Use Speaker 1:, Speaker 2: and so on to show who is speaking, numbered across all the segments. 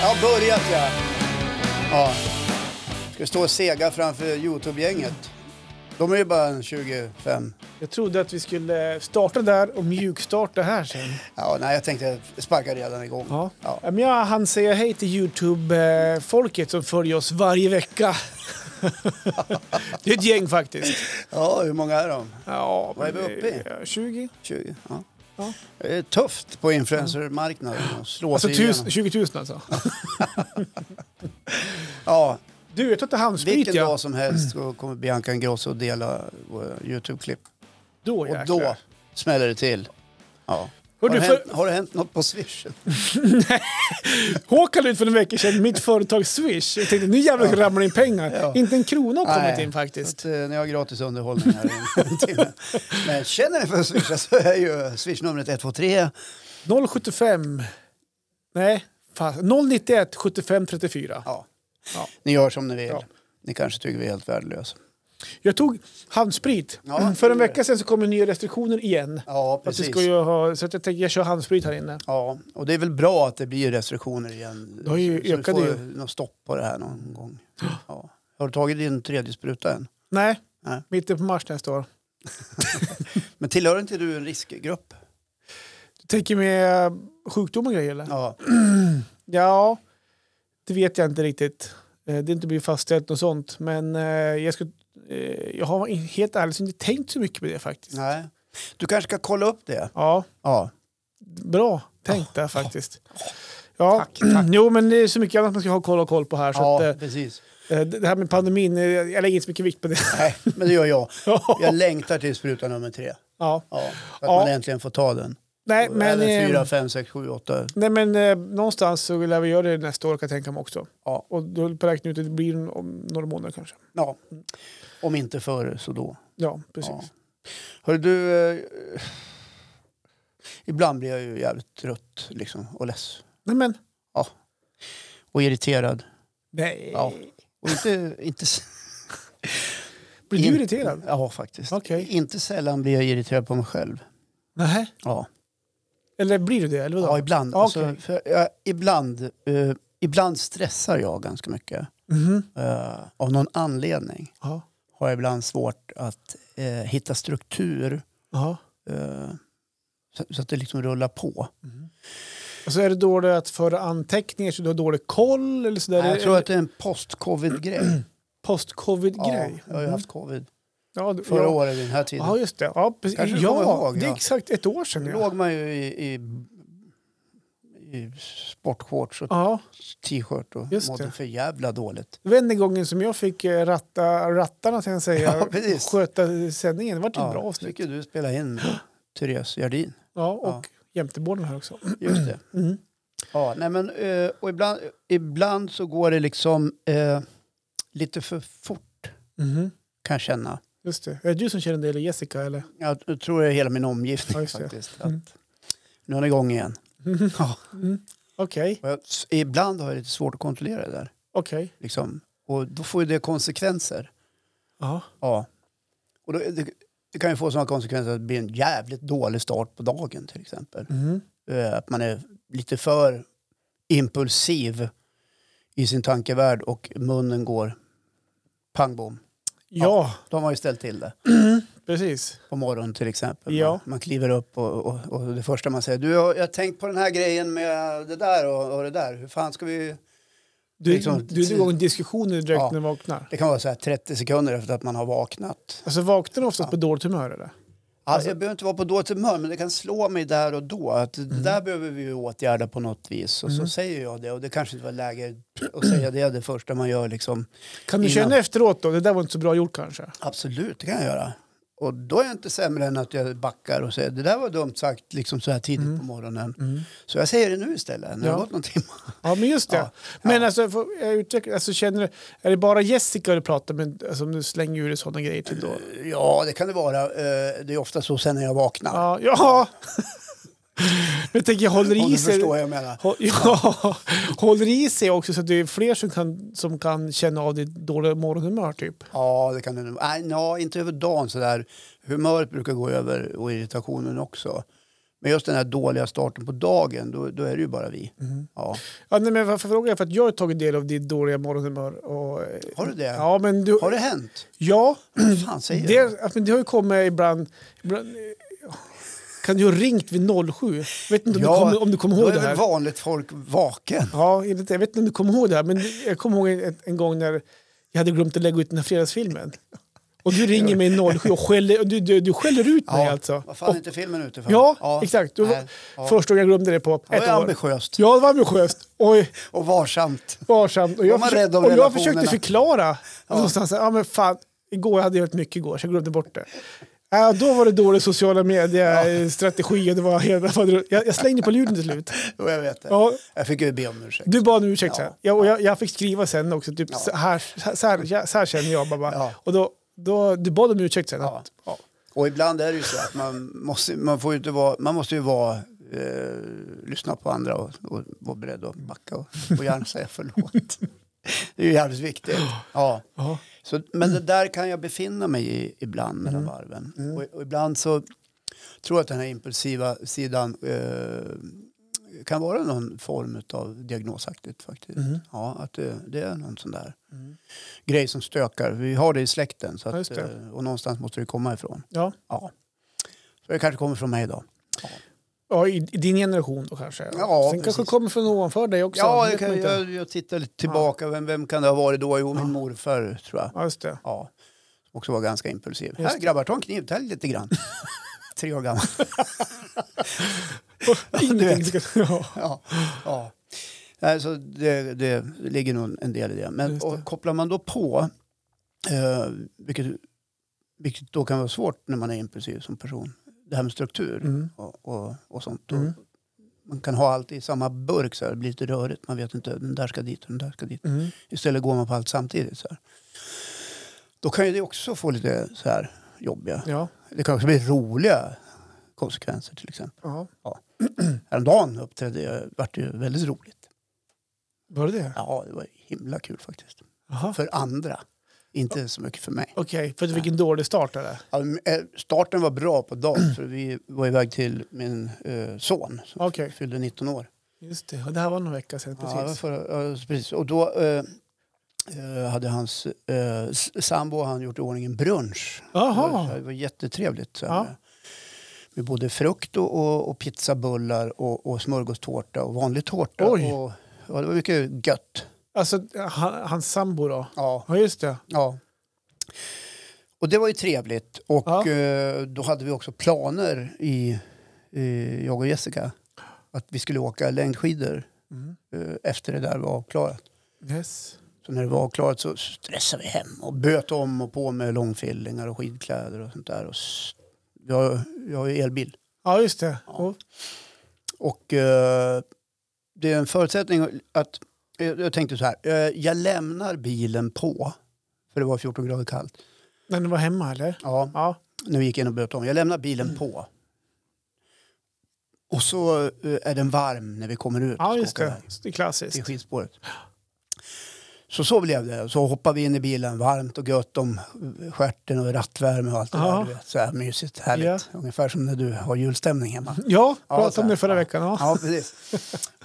Speaker 1: Jag har börjat ja. ja. Ska stå och sega framför Youtube-gänget. De är ju bara en 25.
Speaker 2: Jag trodde att vi skulle starta där och mjukstarta här sen.
Speaker 1: Ja, nej, jag tänkte sparka redan igång.
Speaker 2: Ja.
Speaker 1: Ja.
Speaker 2: Men jag hann säga hej till Youtube-folket som följer oss varje vecka. det är ett gäng faktiskt.
Speaker 1: ja, hur många är de?
Speaker 2: Ja,
Speaker 1: Vad är
Speaker 2: men
Speaker 1: vi uppe i?
Speaker 2: det är 20?
Speaker 1: 20? Ja.
Speaker 2: Ja.
Speaker 1: Det är tufft på influencermarknaden att slå
Speaker 2: Alltså
Speaker 1: sig
Speaker 2: tus,
Speaker 1: igenom.
Speaker 2: 20 000 alltså.
Speaker 1: Ja,
Speaker 2: Du, jag tar inte handsprit
Speaker 1: vilken
Speaker 2: ja.
Speaker 1: dag som helst så kommer Bianca Ingrosso att dela våra Youtube-klipp.
Speaker 2: Då
Speaker 1: Och då smäller det till. Ja. Har,
Speaker 2: Hör
Speaker 1: det
Speaker 2: du, för,
Speaker 1: hänt, har det hänt något på Swish?
Speaker 2: Håkan la ut för en vecka sedan mitt företag Swish. Jag tänkte nu jävlar ja. ramlar det in pengar.
Speaker 1: Ja.
Speaker 2: Inte en krona har kommit
Speaker 1: Nej.
Speaker 2: in faktiskt.
Speaker 1: Så att, eh, ni har gratis underhållning här i en timme. Men känner ni för att swisha så är ju swishnumret 123.
Speaker 2: 075... Nej, fan. 091 75 34.
Speaker 1: Ja.
Speaker 2: Ja.
Speaker 1: Ni gör som ni vill.
Speaker 2: Ja.
Speaker 1: Ni kanske tycker vi är helt värdelösa.
Speaker 2: Jag tog handsprit. Mm,
Speaker 1: Ja, det
Speaker 2: För en
Speaker 1: gjorde
Speaker 2: vecka sedan så kommer nya restriktioner igen.
Speaker 1: Ja,
Speaker 2: Att vi
Speaker 1: precis.
Speaker 2: ska ju ha, så att jag tänker jag kör handsprit här inne.
Speaker 1: Ja, och det är väl bra att det blir restriktioner igen.
Speaker 2: Det har ju-
Speaker 1: så vi
Speaker 2: ökade
Speaker 1: får
Speaker 2: ju.
Speaker 1: något stopp på det här någon gång. Ja. Har du tagit din tredje spruta än?
Speaker 2: Nej,
Speaker 1: Nej.
Speaker 2: mitten på mars nästa år.
Speaker 1: Men tillhör inte du en riskgrupp?
Speaker 2: Du tänker med eh, sjukdom och grejer eller? Ja.
Speaker 1: Ja.
Speaker 2: det vet jag inte riktigt. Eh, Det är inte blivit fastställt något sånt. Men eh, jag, ska, eh, jag har in- helt ärligt inte tänkt så mycket på det faktiskt.
Speaker 1: Nej. Du kanske ska kolla upp det?
Speaker 2: Ja,
Speaker 1: Ja.
Speaker 2: bra tänkt där faktiskt. Ja. Mm,
Speaker 1: Tack, tack.
Speaker 2: Jo, men det är så mycket annat man ska ha koll och koll på här. Så
Speaker 1: Ja,
Speaker 2: att,
Speaker 1: precis.
Speaker 2: eh, eh, det här med pandemin, eh, jag lägger inte så mycket vikt på det.
Speaker 1: Nej, men det gör jag. Jag
Speaker 2: ja.
Speaker 1: längtar till spruta nummer tre. Ja, för att
Speaker 2: Ja.
Speaker 1: man äntligen får ta den.
Speaker 2: Nej, men,
Speaker 1: Eller
Speaker 2: eh,
Speaker 1: 4, 5, 6, 7, 8.
Speaker 2: nej, men eh, någonstans så lär vi göra det nästa år kan jag tänka mig också.
Speaker 1: Ja.
Speaker 2: Och då höll på att räkna ut att det blir om några månader kanske.
Speaker 1: Ja. Om inte förr så då.
Speaker 2: Ja, precis.
Speaker 1: Ja. Hör du, eh, ibland blir jag ju jävligt trött liksom, och less
Speaker 2: Nej, men
Speaker 1: och irriterad.
Speaker 2: nej.
Speaker 1: Ja. Och inte, inte, s-
Speaker 2: Blir du irriterad?
Speaker 1: Ja, faktiskt.
Speaker 2: Okej.
Speaker 1: Inte sällan blir jag irriterad på mig själv.
Speaker 2: Nej.
Speaker 1: Ja,
Speaker 2: Eller blir du det? Eller vadå?
Speaker 1: ja ibland.
Speaker 2: Ja,
Speaker 1: Alltså,
Speaker 2: okej.
Speaker 1: för jag, ibland, eh, ibland stressar jag ganska mycket.
Speaker 2: Mhm.
Speaker 1: Eh, av någon anledning
Speaker 2: ja.
Speaker 1: har jag ibland svårt att eh, hitta struktur
Speaker 2: ja.
Speaker 1: Eh, så, så att det liksom rullar på.
Speaker 2: Och så är det dåligt att föra anteckningar så du har dålig koll? Eller sådär.
Speaker 1: Nej, jag tror att det är en post-covid-grej. Ja,
Speaker 2: Post-covid-grej?
Speaker 1: jag har ju haft covid
Speaker 2: Ja, du-
Speaker 1: förra
Speaker 2: Mm. ja.
Speaker 1: året vid den här tiden.
Speaker 2: Ja, just det. Ja, precis.
Speaker 1: Kanske du kommer
Speaker 2: ja
Speaker 1: ihåg,
Speaker 2: det är
Speaker 1: ja.
Speaker 2: exakt ett år sedan.
Speaker 1: Då
Speaker 2: Ja.
Speaker 1: låg man ju i, i, i sportshorts och
Speaker 2: Ja.
Speaker 1: t-shirt och
Speaker 2: Just
Speaker 1: mådde
Speaker 2: det.
Speaker 1: för jävla dåligt.
Speaker 2: Det var enda gången som jag fick eh, ratta rattarna, tänkte jag säga.
Speaker 1: Ja, precis.
Speaker 2: Sköta sändningen. Det var ett
Speaker 1: Ja,
Speaker 2: bra
Speaker 1: så
Speaker 2: avsnitt.
Speaker 1: fick ju du spela in med Therese Jardin.
Speaker 2: Ja, och jämteborden här också.
Speaker 1: Just det.
Speaker 2: Mm.
Speaker 1: Ja, nej men, eh, och ibland, ibland så går det liksom eh, lite för fort
Speaker 2: Mhm.
Speaker 1: kan jag känna.
Speaker 2: Just det. Är det du som känner det eller Jessica? Eller?
Speaker 1: Jag tror det är hela min
Speaker 2: Ja,
Speaker 1: omgivning
Speaker 2: just det.
Speaker 1: faktiskt.
Speaker 2: Mm.
Speaker 1: Att, nu är den igång igen. Ja.
Speaker 2: Okej,
Speaker 1: Och jag, s- ibland har jag lite svårt att kontrollera det där.
Speaker 2: okej.
Speaker 1: Liksom. Och då får ju det konsekvenser.
Speaker 2: Ja.
Speaker 1: Ja. Och då, det, det kan ju få sådana konsekvenser att det blir en jävligt dålig start på dagen till exempel.
Speaker 2: Mhm.
Speaker 1: Eh, Att man är lite för impulsiv i sin tankevärld och munnen går pang bom.
Speaker 2: Ja,
Speaker 1: De har ju ställt till det
Speaker 2: precis.
Speaker 1: på morgonen till exempel.
Speaker 2: Ja.
Speaker 1: Man, man kliver upp och, och, och det första man säger du jag har tänkt på den här grejen med det där och, och det där. Hur fan ska vi
Speaker 2: Du,
Speaker 1: Liksom-
Speaker 2: du är igång i diskussioner direkt
Speaker 1: Ja.
Speaker 2: när du vaknar.
Speaker 1: Det kan vara så här 30 sekunder efter att man har vaknat.
Speaker 2: Alltså vaknar du oftast på dåligt humör eller?
Speaker 1: Alltså, jag behöver inte vara på dåligt humör, men det kan slå mig där och då. Att Det där behöver vi ju åtgärda på något vis. Och så säger jag det. Och det kanske inte var läge att säga det det första man gör. Liksom.
Speaker 2: Kan du
Speaker 1: Innan.
Speaker 2: känna efteråt då? Det där var inte så bra gjort kanske?
Speaker 1: Absolut, det kan jag göra. Och då är jag inte sämre än att jag backar och säger det där var dumt sagt liksom så här tidigt på morgonen. Så jag säger det nu istället, när det har
Speaker 2: Ja.
Speaker 1: gått någon timme.
Speaker 2: Ja, men just det.
Speaker 1: Ja.
Speaker 2: Men alltså, får jag utveckla, alltså känner, du- är det bara Jessica du pratar med alltså, om du slänger ur dig sådana grejer till då?
Speaker 1: Ja, det kan det vara. Eh, Det är ofta så sen när jag vaknar.
Speaker 2: Ja, ja. jag tänker jag håller
Speaker 1: Om du
Speaker 2: i sig.
Speaker 1: förstår vad jag menar.
Speaker 2: Hå- Ja, håller i sig också så att det är fler som kan, som kan känna av ditt dåliga morgonhumör typ.
Speaker 1: Ja, det kan det nog. Nej, nja, inte över dagen sådär. Humöret brukar gå över och irritationen också. Men just den här dåliga starten på dagen, då, då är det ju bara vi.
Speaker 2: Mm.
Speaker 1: Ja.
Speaker 2: Ja, nej, men varför frågar jag? För att jag har tagit del av ditt dåliga morgonhumör. Och, eh,
Speaker 1: Har du det?
Speaker 2: Ja, men du,
Speaker 1: Har det hänt?
Speaker 2: ja
Speaker 1: Vad fan säger
Speaker 2: det,
Speaker 1: du?
Speaker 2: ja, men det har ju kommit ibland... ibland eh, kan du ha ringt vid 07? vet inte om, du, kommer, om du kommer
Speaker 1: då
Speaker 2: ihåg
Speaker 1: är
Speaker 2: det
Speaker 1: väl
Speaker 2: här.
Speaker 1: vanligt folk vaken.
Speaker 2: Ja, enligt- jag vet inte om du kommer ihåg det här, men jag kommer ihåg en, en gång när jag hade glömt att lägga ut den här fredagsfilmen. Och du ringer mig 07 och skäller, och du, du, du skäller ut mig alltså.
Speaker 1: Vad fan är inte filmen ute för?
Speaker 2: Ja, exakt. Du,
Speaker 1: Nej, ja.
Speaker 2: Första gången jag glömde det på ett
Speaker 1: Det var ju
Speaker 2: år.
Speaker 1: ambitiöst
Speaker 2: Ja, det var ambitiöst. Oj,
Speaker 1: och varsamt.
Speaker 2: varsamt. Och
Speaker 1: Var
Speaker 2: jag,
Speaker 1: man
Speaker 2: försökte,
Speaker 1: rädd om
Speaker 2: och jag
Speaker 1: relationerna?
Speaker 2: försökte förklara. Ja. Någonstans, ja men fan, igår jag hade jag gjort mycket igår så jag glömde bort det. Ja, då var det dålig sociala medier-strategi och det var helt... Jag, jag slängde på luren till slut.
Speaker 1: Jo, jag vet det.
Speaker 2: Ja,
Speaker 1: Jag fick ju be om ursäkt.
Speaker 2: du bad om ursäkt
Speaker 1: Ja.
Speaker 2: sen. Ja, och jag, jag fick skriva sen också, typ
Speaker 1: Ja.
Speaker 2: så, här, så, här, ja, så här känner jag. Bara.
Speaker 1: Ja.
Speaker 2: Och då, då, du bad om ursäkt sen.
Speaker 1: Ja.
Speaker 2: Att, ja.
Speaker 1: Och ibland är det ju så att man måste, man får ju inte vara, man måste ju vara, eh, lyssna på andra och, och vara beredd att backa och, och gärna säga förlåt. Det är ju jävligt viktigt. Ja.
Speaker 2: Ja.
Speaker 1: Så, men det där kan jag befinna mig i ibland mellan varven. Och, och ibland så tror jag att den här impulsiva sidan eh, kan vara någon form av diagnosaktigt faktiskt. Ja, att det, det är någon sån där grej som stökar. Vi har det i släkten så
Speaker 2: Ja,
Speaker 1: att,
Speaker 2: just det.
Speaker 1: eh, och någonstans måste det komma ifrån.
Speaker 2: Ja.
Speaker 1: Ja. Så det kanske kommer från mig då.
Speaker 2: Ja, i, I din generation då kanske.
Speaker 1: Ja,
Speaker 2: sen kanske
Speaker 1: precis.
Speaker 2: det kommer från ovanför dig också.
Speaker 1: Ja,
Speaker 2: det
Speaker 1: jag,
Speaker 2: vet man
Speaker 1: kan,
Speaker 2: inte.
Speaker 1: jag, jag tittar lite tillbaka. Vem, vem kan det ha varit då? Jo, min morfar tror jag.
Speaker 2: Ja, just det.
Speaker 1: Ja, som också var ganska impulsiv.
Speaker 2: Just
Speaker 1: Här grabbar, ta en kniv, tälj lite grann. Tre år gammal.
Speaker 2: Ingenting ska- ja.
Speaker 1: Ja, ja. Nej, så det, det ligger nog en del i det. Men
Speaker 2: Just det.
Speaker 1: Och kopplar man då på, eh, vilket, vilket då kan vara svårt när man är impulsiv som person, det här med struktur
Speaker 2: Mm.
Speaker 1: och, och, och sånt. Och
Speaker 2: Mm.
Speaker 1: Man kan ha allt i samma burk, så här. det blir lite rörigt. Man vet inte, den där ska dit och den där ska dit.
Speaker 2: Mm.
Speaker 1: Istället går man på allt samtidigt. Så här. Då kan ju det också få lite så här jobbiga.
Speaker 2: Ja.
Speaker 1: Det kan också bli roliga konsekvenser till exempel.
Speaker 2: ja.
Speaker 1: Häromdagen uppträdde jag, vart det ju väldigt roligt.
Speaker 2: Var det det?
Speaker 1: Ja, det var himla kul faktiskt.
Speaker 2: Jaha.
Speaker 1: För andra, inte så mycket för mig.
Speaker 2: Okej, för att du fick en dålig start eller?
Speaker 1: Ja, men, eh, starten var bra på dagen för vi var iväg till min eh, son som
Speaker 2: Okej,
Speaker 1: fyllde 19 år.
Speaker 2: just det. Och det här var någon vecka sedan
Speaker 1: Ja, det var
Speaker 2: precis.
Speaker 1: förra, ja, precis. Och då eh, eh, hade hans eh, s- sambo han gjort i ordning en brunch Det var,
Speaker 2: Jaha,
Speaker 1: det var jättetrevligt. Så här
Speaker 2: Ja.
Speaker 1: med, med både frukt och, och, och pizzabullar och, och smörgåstårta och vanlig tårta.
Speaker 2: Oj.
Speaker 1: Och, ja, det var mycket gött.
Speaker 2: alltså han, hans sambo då?
Speaker 1: Ja.
Speaker 2: Ja, just det.
Speaker 1: ja. Och det var ju trevligt. Och
Speaker 2: Ja.
Speaker 1: eh, då hade vi också planer, i, eh, jag och Jessica, att vi skulle åka längdskidor
Speaker 2: Mm.
Speaker 1: eh, efter det där var avklarat.
Speaker 2: Yes.
Speaker 1: Så när det var avklarat så stressade vi hem och böt om och på med långfillingar och skidkläder och sånt där. Och s- jag, jag har ju elbil.
Speaker 2: Ja, just det. Och,
Speaker 1: Och eh, det är en förutsättning att, eh, jag tänkte så här, eh, jag lämnar bilen på, för det var 14 grader kallt.
Speaker 2: när ni var hemma eller?
Speaker 1: Ja,
Speaker 2: Ja.
Speaker 1: nu gick jag in och bytte om. Jag lämnar bilen på. Och så eh, är den varm när vi kommer ut. och
Speaker 2: Ja,
Speaker 1: ska
Speaker 2: just
Speaker 1: åka
Speaker 2: det.
Speaker 1: iväg
Speaker 2: Det är
Speaker 1: Till
Speaker 2: klassiskt.
Speaker 1: skidspåret. Så så blev det. Så hoppar vi in i bilen varmt och gött om eh, stjärten och rattvärme och allt det
Speaker 2: Ja.
Speaker 1: där. du vet. Så här mysigt, härligt.
Speaker 2: Ja.
Speaker 1: Ungefär som när du har julstämning hemma.
Speaker 2: Ja,
Speaker 1: Ja,
Speaker 2: pratade
Speaker 1: så
Speaker 2: om
Speaker 1: här.
Speaker 2: det förra
Speaker 1: Ja.
Speaker 2: veckan. Ja.
Speaker 1: Ja, precis.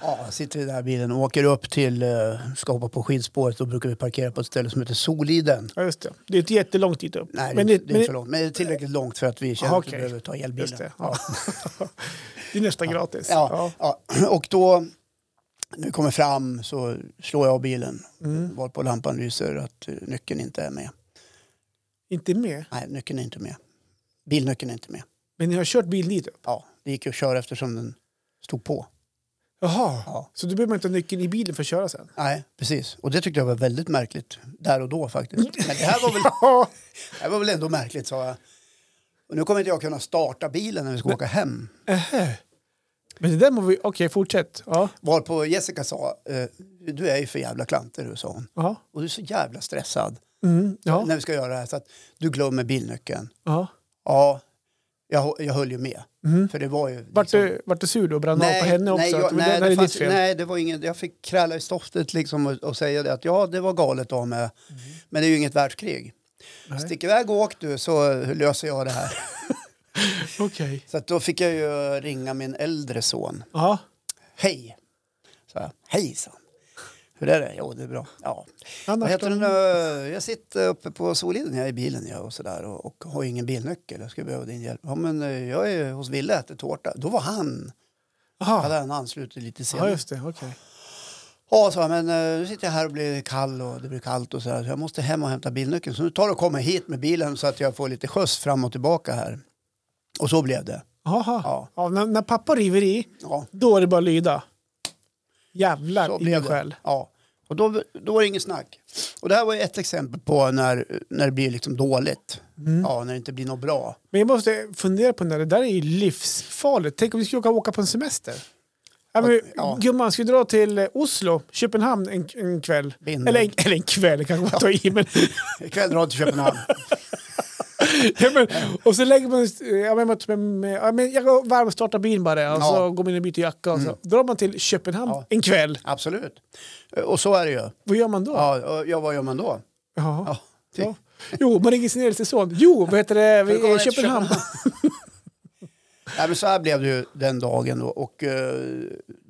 Speaker 1: Ja, sitter vi där i bilen och åker upp till, eh, ska hoppa på skidspåret. Då brukar vi parkera på ett ställe som heter Soliden.
Speaker 2: ja, just det. Det är inte jättelångt dit upp.
Speaker 1: Nej,
Speaker 2: men
Speaker 1: det,
Speaker 2: det,
Speaker 1: är- det är
Speaker 2: men
Speaker 1: inte för långt. Men det är tillräckligt långt för att vi känner
Speaker 2: Ja,
Speaker 1: att vi
Speaker 2: okej.
Speaker 1: behöver ta elbilen.
Speaker 2: Just det. Ja. det är nästan gratis.
Speaker 1: Ja, ja. Och då, när vi kommer fram så slår jag av bilen.
Speaker 2: Mm.
Speaker 1: Varpå lampan lyser att eh, nyckeln inte är med.
Speaker 2: Inte med.
Speaker 1: Nej, nyckeln är inte med. Bilnyckeln är inte med.
Speaker 2: Men ni har kört bil dit upp?
Speaker 1: Ja, det gick ju att köra eftersom den stod på.
Speaker 2: Jaha.
Speaker 1: Ja.
Speaker 2: Så då behöver man inte ha nyckeln i bilen för att köra sen?
Speaker 1: Nej, precis. Och det tyckte jag var väldigt märkligt där och då faktiskt. Men det här var väl
Speaker 2: Ja.
Speaker 1: Det här var väl ändå märkligt, sa jag. Och nu kommer inte jag kunna starta bilen när vi ska åka hem.
Speaker 2: Men det där må vi... Okej, fortsätt. Ja.
Speaker 1: Varpå Jessica sa, eh, du är ju för jävla klantig du, sa hon.
Speaker 2: Ja.
Speaker 1: Och du är så jävla stressad
Speaker 2: Mm. Ja.
Speaker 1: när vi ska göra det här så att du glömmer bilnyckeln.
Speaker 2: ja.
Speaker 1: Ja, jag, jag höll ju med.
Speaker 2: Mm.
Speaker 1: För det var ju...
Speaker 2: Vart,
Speaker 1: liksom-
Speaker 2: du, vart du sur då? Brann av
Speaker 1: Nej,
Speaker 2: på henne också?
Speaker 1: nej,
Speaker 2: Att
Speaker 1: jag,
Speaker 2: det var-
Speaker 1: nej,
Speaker 2: det
Speaker 1: det
Speaker 2: är
Speaker 1: fanns,
Speaker 2: ditt fel?
Speaker 1: nej, det var ingen, jag fick kräla i stoftet liksom och, och säga det att ja, det var galet av mig, men det är ju inget världskrig.
Speaker 2: Mhm. Nej.
Speaker 1: Stick iväg och åk du så löser jag det här.
Speaker 2: Okej.
Speaker 1: Så att då fick jag ju ringa min äldre son.
Speaker 2: Ja.
Speaker 1: Hej! sa jag. Hejsan! Hur är det? Jo, det är bra. Ja. Vad
Speaker 2: Annars
Speaker 1: heter
Speaker 2: då?
Speaker 1: den? eh, Jag sitter uppe på Soliden jag är i bilen jag och, sådär och, och har ingen bilnyckel. Jag skulle behöva din hjälp. Ja, men eh, jag är hos Ville och äter tårta. Då var han.
Speaker 2: Aha.
Speaker 1: Hade han anslutit lite
Speaker 2: Ah. Ja,
Speaker 1: senare.
Speaker 2: just det. Okej.
Speaker 1: Ja, sa jag, men eh, nu sitter jag här och blir kall och det blir kallt och sådär. Så jag måste hem och hämta bilnyckeln. Så nu tar du och kommer hit med bilen så att jag får lite skjuts fram och tillbaka här. Och så blev det.
Speaker 2: Aha.
Speaker 1: Ja.
Speaker 2: Ja. när, när pappa river i,
Speaker 1: Ja,
Speaker 2: då är det bara att lyda.
Speaker 1: så
Speaker 2: Jävlar,
Speaker 1: blev
Speaker 2: ingen
Speaker 1: det.
Speaker 2: skäl.
Speaker 1: Ja. Och då, då var det inget snack. Och det här var ju ett exempel på när, när det blir liksom dåligt. Ja, när det inte blir något bra.
Speaker 2: Men jag måste fundera på det där. Det där är ju livsfarligt. Tänk om vi skulle åka, åka på en semester. Ja, men,
Speaker 1: Ja.
Speaker 2: Gumman, ska vi dra till eh, Oslo, Köpenhamn en, en kväll?
Speaker 1: Binder.
Speaker 2: Eller en, eller en kväll, kanske man tar i. Men,
Speaker 1: Ikväll drar jag till Köpenhamn.
Speaker 2: ja, men, och så lägger man... eh, Ja, men, man- men, men, ja, men, jag går varm och startar bilen bara och
Speaker 1: Ja. Mm.
Speaker 2: så går man in och byter jacka och så drar man till Köpenhamn
Speaker 1: Ja.
Speaker 2: en kväll.
Speaker 1: Absolut. Och så är det ju.
Speaker 2: Vad gör man då?
Speaker 1: Ja, och ja, vad gör man då?
Speaker 2: Ja.
Speaker 1: Ja, det-
Speaker 2: Ja. Jo, man ringer sin äldste son. Jo, vad heter det? Vi
Speaker 1: För att komma
Speaker 2: är i
Speaker 1: ner till
Speaker 2: Köpenhamn.
Speaker 1: Nej, men så här blev det ju den dagen då, och eh,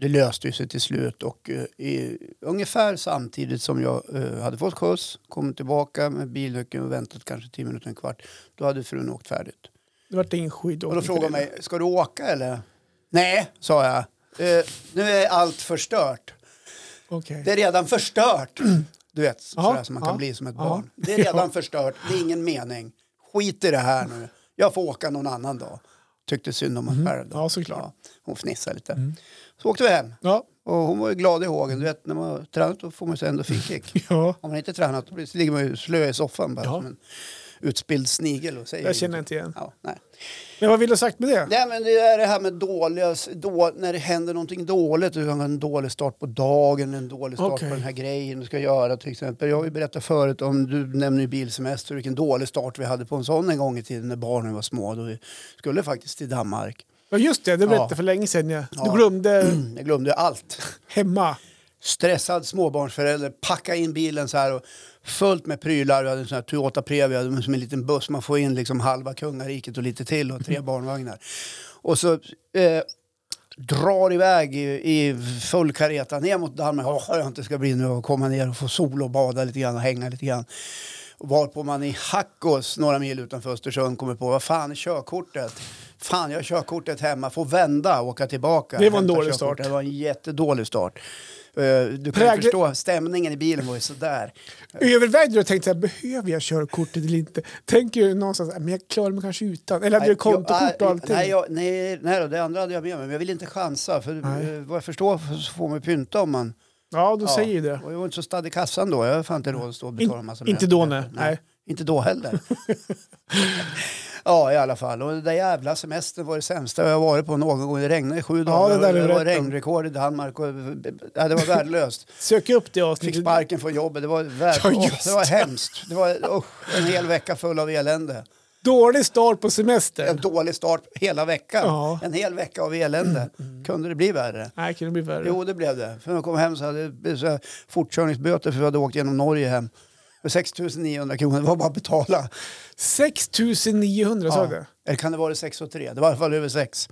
Speaker 1: det löste ju sig till slut. Och, eh, i, ungefär samtidigt som jag eh, hade fått skjuts, kommit tillbaka med bilnyckeln och väntat kanske 10 minuter, en kvart, då hade frun åkt färdigt.
Speaker 2: Det vart ingen skidåkning.
Speaker 1: Och då frågade hon mig, ska du åka eller? Nej, sa jag. Eh, nu är allt förstört.
Speaker 2: Okej.
Speaker 1: Det är redan förstört. Du vet,
Speaker 2: Ja,
Speaker 1: sådär som man kan
Speaker 2: ja,
Speaker 1: bli som ett
Speaker 2: ja.
Speaker 1: barn. Det är redan förstört, det är ingen mening. Skit i det här nu. Jag får åka någon annan dag. Tyckte synd om mig själv. Då.
Speaker 2: Mm-hmm. Ja, såklart. Mm.
Speaker 1: Ja, hon fnissade lite. Så åkte vi hem.
Speaker 2: Ja.
Speaker 1: Och hon var ju glad i hågen. Du vet, när man har tränat då får man ju så ändå finkick.
Speaker 2: ja.
Speaker 1: Om man inte tränat då blir- så ligger man ju slö i soffan bara
Speaker 2: Ja.
Speaker 1: som en utspilld snigel. Och säger
Speaker 2: Jag känner
Speaker 1: ingenting.
Speaker 2: inte igen.
Speaker 1: Ja, nej.
Speaker 2: Men vad vill du ha sagt med det?
Speaker 1: Nej, men det är det här med dåliga, då, när det händer någonting dåligt, du har en dålig start på dagen, en dålig start
Speaker 2: Okej.
Speaker 1: på den här grejen du ska göra till exempel. Jag har ju berättat förut om, du nämner ju bilsemester, vilken dålig start vi hade på en sån en gång i tiden när barnen var små. Då vi skulle faktiskt till Danmark.
Speaker 2: Ja, just det. Du berättade
Speaker 1: Ja.
Speaker 2: för länge sedan. Ja.
Speaker 1: Ja.
Speaker 2: Du glömde
Speaker 1: Jag glömde allt.
Speaker 2: hemma.
Speaker 1: Stressad småbarnsförälder, packa in bilen så här och fullt med prylar. Vi hade en sån här Toyota Previa, det var som en liten buss. Man får in liksom halva kungariket och lite till och
Speaker 2: Mm.
Speaker 1: tre barnvagnar. Och så eh, drar iväg i, i full kareta ner mot Danmark. Åh, jag inte ska bli nu och komma ner och få sol och bada lite grann och hänga lite grann. Varpå man i Hackås, några mil utanför Östersund, kommer på vad fan är körkortet? Fan, jag har körkortet hemma, får vända och åka tillbaka.
Speaker 2: Det var en
Speaker 1: Hämta
Speaker 2: dålig
Speaker 1: körkortet.
Speaker 2: start.
Speaker 1: Det var en jättedålig start. Eh, Du kan ju
Speaker 2: Prägel-
Speaker 1: förstå, stämningen i bilen var ju sådär.
Speaker 2: Övervägde du och tänkte så här, behöver jag körkortet eller inte? Tänker du någonstans, men jag klarar mig kanske utan. Eller hade du kontokort och
Speaker 1: jag,
Speaker 2: allting?
Speaker 1: nej, jag, nej, nej då, det andra hade jag med mig, men jag vill inte chansa. För
Speaker 2: Nej.
Speaker 1: eh, vad jag förstår så får man pynta om man
Speaker 2: ja, du
Speaker 1: Ja,
Speaker 2: säger ju det.
Speaker 1: Och jag var inte så stadd i kassan då. Jag hade fan inte råd att stå och betala en massa
Speaker 2: inte då,
Speaker 1: möten.
Speaker 2: nej. Nej.
Speaker 1: Inte då heller. ja, i alla fall. Och den där jävla semestern var det sämsta jag varit på någon gång. Det regnade i sju dagar.
Speaker 2: det där
Speaker 1: och
Speaker 2: är
Speaker 1: det var
Speaker 2: rätt.
Speaker 1: regnrekord i Danmark. Och, ja, det var värdelöst.
Speaker 2: Sök upp det
Speaker 1: Fick
Speaker 2: avsnittet.
Speaker 1: sparken från jobbet. Det var, vär...
Speaker 2: Ja,
Speaker 1: Åh,
Speaker 2: just
Speaker 1: det var hemskt. Det var usch, en hel vecka full av elände.
Speaker 2: Dålig start på
Speaker 1: En
Speaker 2: semestern.
Speaker 1: dålig start hela veckan.
Speaker 2: Ja. Mm,
Speaker 1: En hel vecka av elände. Kunde det bli värre?
Speaker 2: Nej, kunde bli värre.
Speaker 1: Jo, det blev det. För när jag kom hem så hade det blivit så här fortkörningsböter för vi hade åkt genom Norge hem. För 6 900 kronor, det var bara att betala.
Speaker 2: 6900 sa du det? Mm.
Speaker 1: Eller kan det vara det 6 och 3? Det var i alla fall över 6.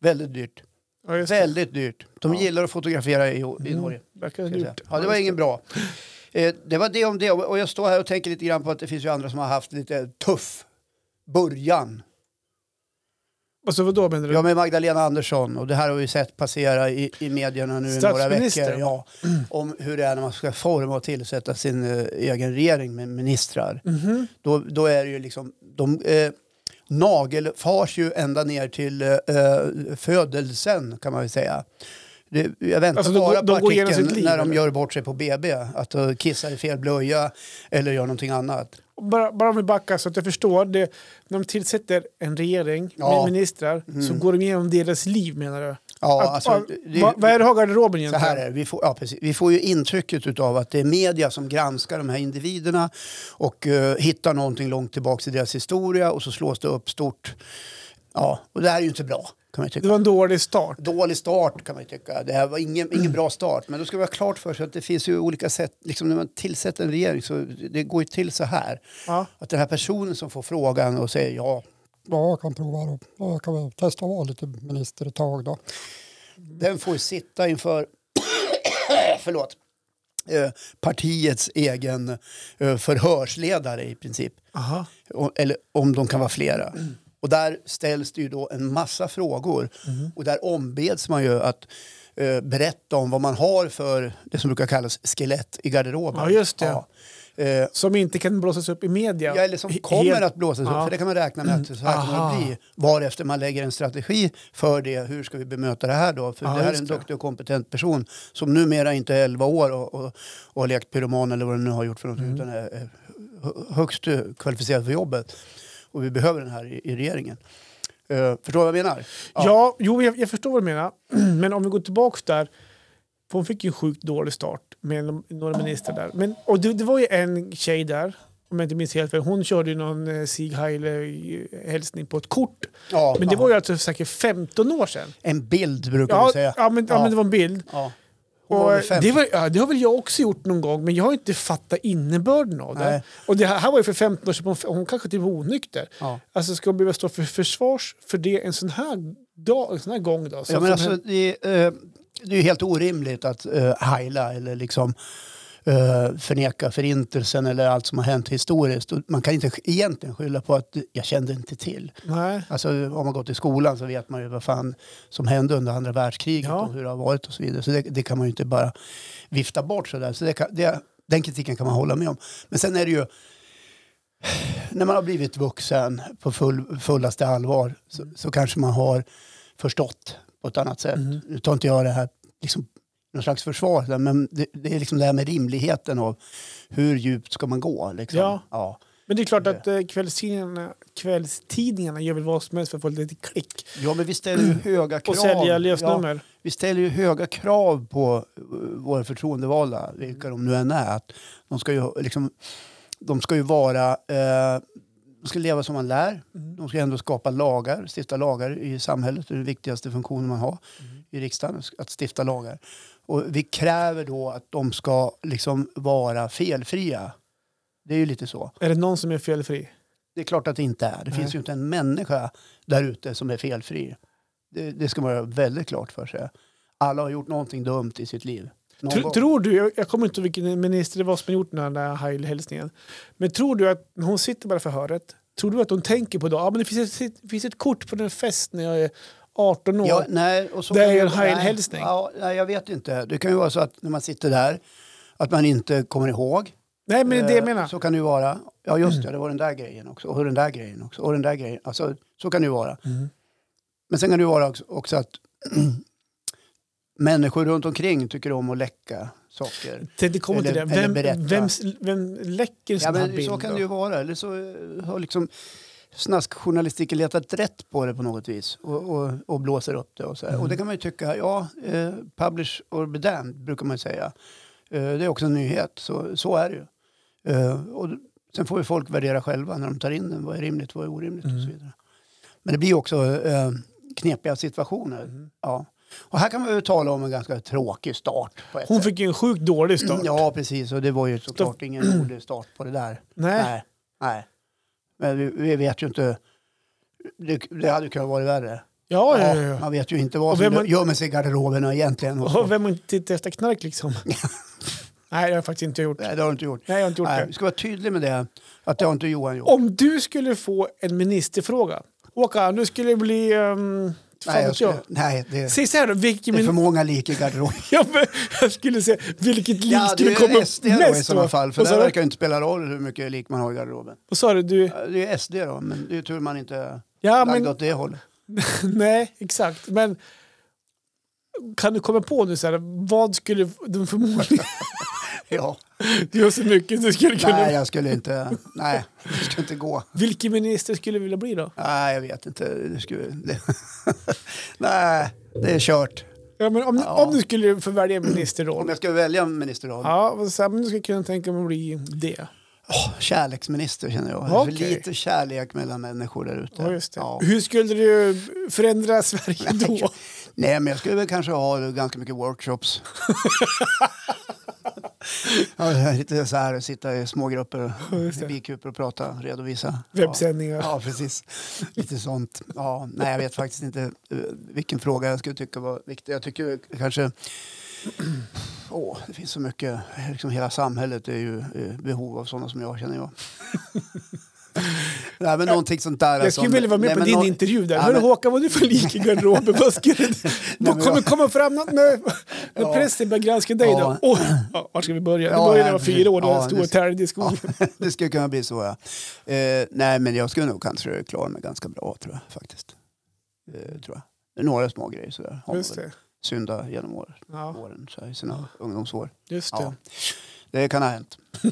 Speaker 1: Väldigt dyrt.
Speaker 2: Ja, just det.
Speaker 1: Väldigt dyrt. De gillar att fotografera i,
Speaker 2: Mm.
Speaker 1: i Norge.
Speaker 2: Verkar
Speaker 1: ska jag säga.
Speaker 2: dyrt.
Speaker 1: Ja, det var ingen bra. Eh, det var det om det. Och jag står här och tänker lite grann på att det finns ju andra som har haft lite tuff början.
Speaker 2: Alltså vadå menar du?
Speaker 1: Ja, med Magdalena Andersson. Och det här har vi sett passera i, i medierna nu i några
Speaker 2: Statsminister.
Speaker 1: veckor. Ja, om hur det är när man ska forma och tillsätta sin eh, egen regering med ministrar.
Speaker 2: Mhm.
Speaker 1: Då, då är det ju liksom, de eh, nagelfars ju ända ner till eh, eh, födelsen kan man väl säga. Det, jag väntar
Speaker 2: Alltså, de
Speaker 1: bara
Speaker 2: går-
Speaker 1: på
Speaker 2: de går igenom
Speaker 1: artikeln
Speaker 2: sitt liv,
Speaker 1: när de
Speaker 2: eller?
Speaker 1: gör bort sig på BB. Att de kissar i fel blöja eller gör någonting annat.
Speaker 2: Bara, bara om vi backar så att jag förstår. Det, när de tillsätter en regering
Speaker 1: Ja. Mm.
Speaker 2: med ministrar så går de igenom deras liv menar du?
Speaker 1: Ja,
Speaker 2: att,
Speaker 1: alltså,
Speaker 2: vad-
Speaker 1: det-
Speaker 2: vad, vad är det du har i garderoben
Speaker 1: Så
Speaker 2: egentligen?
Speaker 1: här är det. Vi, får, ja, precis. vi får ju intrycket av att det är media som granskar de här individerna och eh, hittar någonting långt tillbaka i deras historia och så slås det upp stort. Ja, och det här är ju inte bra kan man ju
Speaker 2: Det
Speaker 1: tycka.
Speaker 2: var en dålig start.
Speaker 1: Dålig start kan man ju tycka. Det här var ingen, ingen bra start. Men då ska vi ha klart för sig att det finns ju olika sätt. Liksom när man tillsätter en regering så det går ju till så här.
Speaker 2: Ja.
Speaker 1: Att den här personen som får frågan och säger ja,
Speaker 3: Ja, jag kan prova då. Ja, Jag kan väl testa att vara lite minister ett tag då.
Speaker 1: Den får ju sitta inför förlåt, eh, partiets egen eh, förhörsledare i princip.
Speaker 2: Aha.
Speaker 1: O- eller om de kan vara flera. Och där ställs det ju då en massa frågor
Speaker 2: Mm.
Speaker 1: och där ombeds man ju att eh, berätta om vad man har för det som brukar kallas skelett i garderoben.
Speaker 2: Ja, just det.
Speaker 1: Ja. Eh,
Speaker 2: Som inte kan blåsas upp i media.
Speaker 1: Ja, eller som
Speaker 2: He-
Speaker 1: liksom kommer
Speaker 2: helt-
Speaker 1: att blåsas upp,
Speaker 2: Ja.
Speaker 1: för det kan man räkna med att så här kommer
Speaker 2: Aha.
Speaker 1: det bli. Varefter man lägger en strategi för det, hur ska vi bemöta det här då? För
Speaker 2: Ja,
Speaker 1: det här är
Speaker 2: just
Speaker 1: en
Speaker 2: det.
Speaker 1: duktig och kompetent person som numera inte är 11 år och, och, och har lekt pyroman eller vad den nu har gjort för något,
Speaker 2: Mm.
Speaker 1: utan är, är hö- högst eh, kvalificerad för jobbet. Och vi behöver den här i, i regeringen. Eh, förstår du vad jag menar?
Speaker 2: Ja, jo, jag, jag förstår vad du menar. Men om vi går tillbaka där. för Hon fick ju en sjukt dålig start med en- några ministrar där. Men, och det, det var ju en tjej där, om jag inte minns helt fel. Hon körde ju någon eh, Sieg Heil-hälsning på ett kort.
Speaker 1: Ja,
Speaker 2: Men det var ju alltså säkert 15 år sedan.
Speaker 1: En bild brukar vi
Speaker 2: Ja,
Speaker 1: säga.
Speaker 2: ja, men, ja.
Speaker 1: Ja.
Speaker 2: men det var en bild.
Speaker 1: Ja. Hon
Speaker 2: Och
Speaker 1: var väl
Speaker 2: det,
Speaker 1: 50.
Speaker 2: var, ja, det har väl jag också gjort någon gång, men jag har inte fattat innebörden av det.
Speaker 1: Nej.
Speaker 2: Och det här, här var ju för 15 år sedan, hon, hon kanske typ var onykter.
Speaker 1: Ja.
Speaker 2: Alltså ska hon behöva stå för försvars för det en sån här, dag, en sån här gång då? Så
Speaker 1: Ja,
Speaker 2: att
Speaker 1: men
Speaker 2: de
Speaker 1: alltså,
Speaker 2: här-
Speaker 1: det, är, eh, det är ju helt orimligt att eh, heila eller liksom eh, förneka förintelsen eller allt som har hänt historiskt. Och Man kan inte sk- egentligen skylla på att jag kände inte till.
Speaker 2: nej.
Speaker 1: Alltså, om man gått i skolan så vet man ju vad fan som hände under andra världskriget
Speaker 2: Ja.
Speaker 1: och hur det har varit och så vidare. Så det, det kan man ju inte bara vifta bort sådär. Så det kan, det, den kritiken kan man hålla med om. Men sen är det ju när man har blivit vuxen på full, fullaste allvar så,
Speaker 2: Mm.
Speaker 1: så kanske man har förstått på ett annat sätt.
Speaker 2: Mm.
Speaker 1: Nu tar inte jag det här liksom, någon slags försvar, där, men det, det är liksom det här med rimligheten av hur djupt ska man gå? Liksom.
Speaker 2: Ja.
Speaker 1: Ja.
Speaker 2: Men det är klart att eh, kvällstidningarna, kvällstidningarna gör väl vad som helst för att få lite klick
Speaker 1: ja, men vi ställer ju höga krav.
Speaker 2: och sälja
Speaker 1: Ja.
Speaker 2: lösnummer.
Speaker 1: Vi ställer ju höga krav på eh, våra förtroendevalda, vilka de nu än är. Att de, ska ju, liksom, de ska ju vara... Eh, de ska leva som man lär. De ska ändå skapa lagar, stifta lagar i samhället. Det är den viktigaste funktionen man har i riksdagen, att stifta lagar. Och vi kräver då att de ska liksom vara felfria. Det är ju lite så.
Speaker 2: Är det någon som är felfri?
Speaker 1: Det är klart att det inte är. Det
Speaker 2: Nej.
Speaker 1: finns ju inte en människa där ute som är felfri. Det, det ska man göra väldigt klart för sig. Alla har gjort någonting dumt i sitt liv. Någon
Speaker 2: Tr
Speaker 1: gång.
Speaker 2: tror du, jag, jag kommer inte ihåg vilken minister det var som gjort den här Heil-hälsningen, men tror du att när hon sitter bara förhöret, tror du att hon tänker på då, ja men det finns ett, det finns ett kort på den fest när jag är 18 år.
Speaker 1: Ja, nej, och så
Speaker 2: Det är ju en
Speaker 1: nej,
Speaker 2: heilhälsning.
Speaker 1: Ja, nej, jag vet inte. Det kan ju vara så att när man sitter där att man inte kommer ihåg.
Speaker 2: Nej men det är det jag
Speaker 1: Eh,
Speaker 2: menar. Mm.
Speaker 1: Så kan det ju vara. Ja, just det. Det var den där grejen också. Och den där grejen också. Och den där grejen. Alltså, så kan det ju vara.
Speaker 2: Mm.
Speaker 1: Men sen kan det ju vara också- också att människor runt omkring tycker om att läcka saker.
Speaker 2: det, det kommer till det.
Speaker 1: eller-
Speaker 2: Vem,
Speaker 1: eller berätta.
Speaker 2: vem, vem läcker en
Speaker 1: Ja,
Speaker 2: sån här
Speaker 1: men
Speaker 2: bild?
Speaker 1: så kan
Speaker 2: då?
Speaker 1: det ju vara. Eller så eh, har liksom snaskjournalistiken letat rätt på det på något vis och, och, och blåser upp det. Och, så här.
Speaker 2: Mm.
Speaker 1: och det kan man ju tycka, ja, eh, publish or be damned brukar man ju säga. Eh, det är också en nyhet, så, så är det ju. Eh, och d- sen får ju folk värdera själva när de tar in den, vad är rimligt, vad är orimligt och så
Speaker 2: Mm.
Speaker 1: vidare. Men det blir ju också eh, knepiga situationer.
Speaker 2: Mm.
Speaker 1: Ja. Och här kan man ju tala om en ganska tråkig start. På ett
Speaker 2: Hon
Speaker 1: sätt.
Speaker 2: fick ju en sjukt dålig start.
Speaker 1: Ja, precis. Och det var ju såklart ingen rolig start på det där.
Speaker 2: Nej.
Speaker 1: Nej. Nej. Men vi, vi vet ju inte. Det, det hade kunnat vara värre.
Speaker 2: Ja, ja, ja.
Speaker 1: Man vet ju inte
Speaker 2: Och
Speaker 1: vad som
Speaker 2: vem man-
Speaker 1: gömmer sig i garderoberna egentligen. Och
Speaker 2: ja.
Speaker 1: så.
Speaker 2: Och vem har inte tittat efter knark liksom? Nej, det har jag faktiskt inte gjort. Nej,
Speaker 1: Nej, det har du inte gjort.
Speaker 2: jag har inte gjort
Speaker 1: Nej,
Speaker 2: det.
Speaker 1: vi ska vara tydlig med det, att det har inte Johan gjort.
Speaker 2: Om du skulle få en ministerfråga. Åka, nu skulle det bli... Um,
Speaker 1: nej,
Speaker 2: fan vet
Speaker 1: skulle-
Speaker 2: jag.
Speaker 1: nej det,
Speaker 2: Säg så här då, vilken
Speaker 1: det är för
Speaker 2: min...
Speaker 1: många lik i garderoben.
Speaker 2: ja, men, jag skulle säga vilket lik
Speaker 1: Ja, det
Speaker 2: skulle komma
Speaker 1: är ju
Speaker 2: upp
Speaker 1: SD då i
Speaker 2: mest
Speaker 1: sådana
Speaker 2: då?
Speaker 1: fall, för
Speaker 2: Vad
Speaker 1: det
Speaker 2: sa du?
Speaker 1: verkar ju inte spela roll hur mycket lik man har i garderoben.
Speaker 2: Vad sa du? du?
Speaker 1: Ja, Det är ju SD då, men det är ju tur man inte är
Speaker 2: Ja,
Speaker 1: lagd
Speaker 2: men,
Speaker 1: åt det hållet.
Speaker 2: nej, exakt. Men kan du komma på nu så här, vad skulle de förmodligen...
Speaker 1: Ja.
Speaker 2: Du har så mycket du skulle kunna...
Speaker 1: Nej, jag skulle inte, nej, det skulle inte gå.
Speaker 2: Vilken minister skulle du vilja bli då?
Speaker 1: Nej, jag vet inte. Det skulle, det, nej, det är kört.
Speaker 2: Ja, men om,
Speaker 1: Ja.
Speaker 2: om du skulle få välja en
Speaker 1: Om
Speaker 2: ministerroll.
Speaker 1: jag ska välja en ministerroll?
Speaker 2: Ja, vad så här, men du skulle kunna tänka mig att bli det.
Speaker 1: Åh, kärleksminister känner jag. Det är för
Speaker 2: Okej.
Speaker 1: lite kärlek mellan människor där ute.
Speaker 2: Ja, just det.
Speaker 1: Ja.
Speaker 2: Hur skulle du förändra Sverige då?
Speaker 1: Nej, men jag skulle väl kanske ha ganska mycket workshops. Ja, lite så här, sitta i smågrupper,
Speaker 2: just det.
Speaker 1: i bikuper och prata, redovisa.
Speaker 2: Webbsändningar.
Speaker 1: Ja, precis. Lite sånt. Ja, nej, jag vet faktiskt inte eh, vilken fråga jag skulle tycka var viktig. Jag tycker kanske... Åh, det finns så mycket. Liksom hela samhället är ju eh, behov av sådana som jag, känner jag. nej, men någonting sånt där.
Speaker 2: Jag skulle vilja vara med på din
Speaker 1: alltså, nå-
Speaker 2: intervju där.
Speaker 1: Ja,
Speaker 2: Hörru
Speaker 1: men-
Speaker 2: Håkan, vad är du för lik i garderoben? Vad skulle du- Då
Speaker 1: men jag-
Speaker 2: kommer komma fram något när, när
Speaker 1: Ja.
Speaker 2: pressen börjar granska dig. Då.
Speaker 1: Ja.
Speaker 2: Åh, ja, var ska vi börja? Det
Speaker 1: Ja,
Speaker 2: började när
Speaker 1: nej,
Speaker 2: jag var
Speaker 1: precis.
Speaker 2: fyra år, då
Speaker 1: Ja,
Speaker 2: jag stod
Speaker 1: det-
Speaker 2: och tärde i skogen.
Speaker 1: Ja, det skulle kunna bli så, ja. Eh, nej, men jag skulle nog kanske klara mig ganska bra, tror jag. faktiskt. Eh, tror jag. Det är några små grejer sådär. Har man
Speaker 2: Just
Speaker 1: väl
Speaker 2: det.
Speaker 1: Synda genom år,
Speaker 2: Ja,
Speaker 1: åren, så här, i sina ungdomsår.
Speaker 2: just det.
Speaker 1: Ja. Det kan ha hänt. Ja.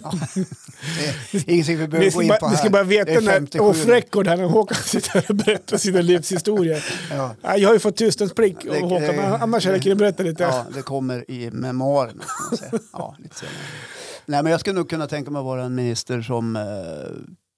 Speaker 1: Det är ingenting vi
Speaker 2: Ni
Speaker 1: behöver
Speaker 2: ska,
Speaker 1: gå in på
Speaker 2: bara, ni ska
Speaker 1: här.
Speaker 2: bara
Speaker 1: Det är
Speaker 2: veta när
Speaker 1: 57.
Speaker 2: off record här när Håkan sitter här och berättar sina livshistorier.
Speaker 1: Ja.
Speaker 2: Ja, Jag har ju fått tystnadsplick av
Speaker 1: Det-
Speaker 2: Håkan, men annars hade jag kunnat berätta lite.
Speaker 1: Ja, det kommer i memoarerna. kan man säga. Ja, lite senare. Nej, men jag skulle nog kunna tänka mig att vara en minister som eh,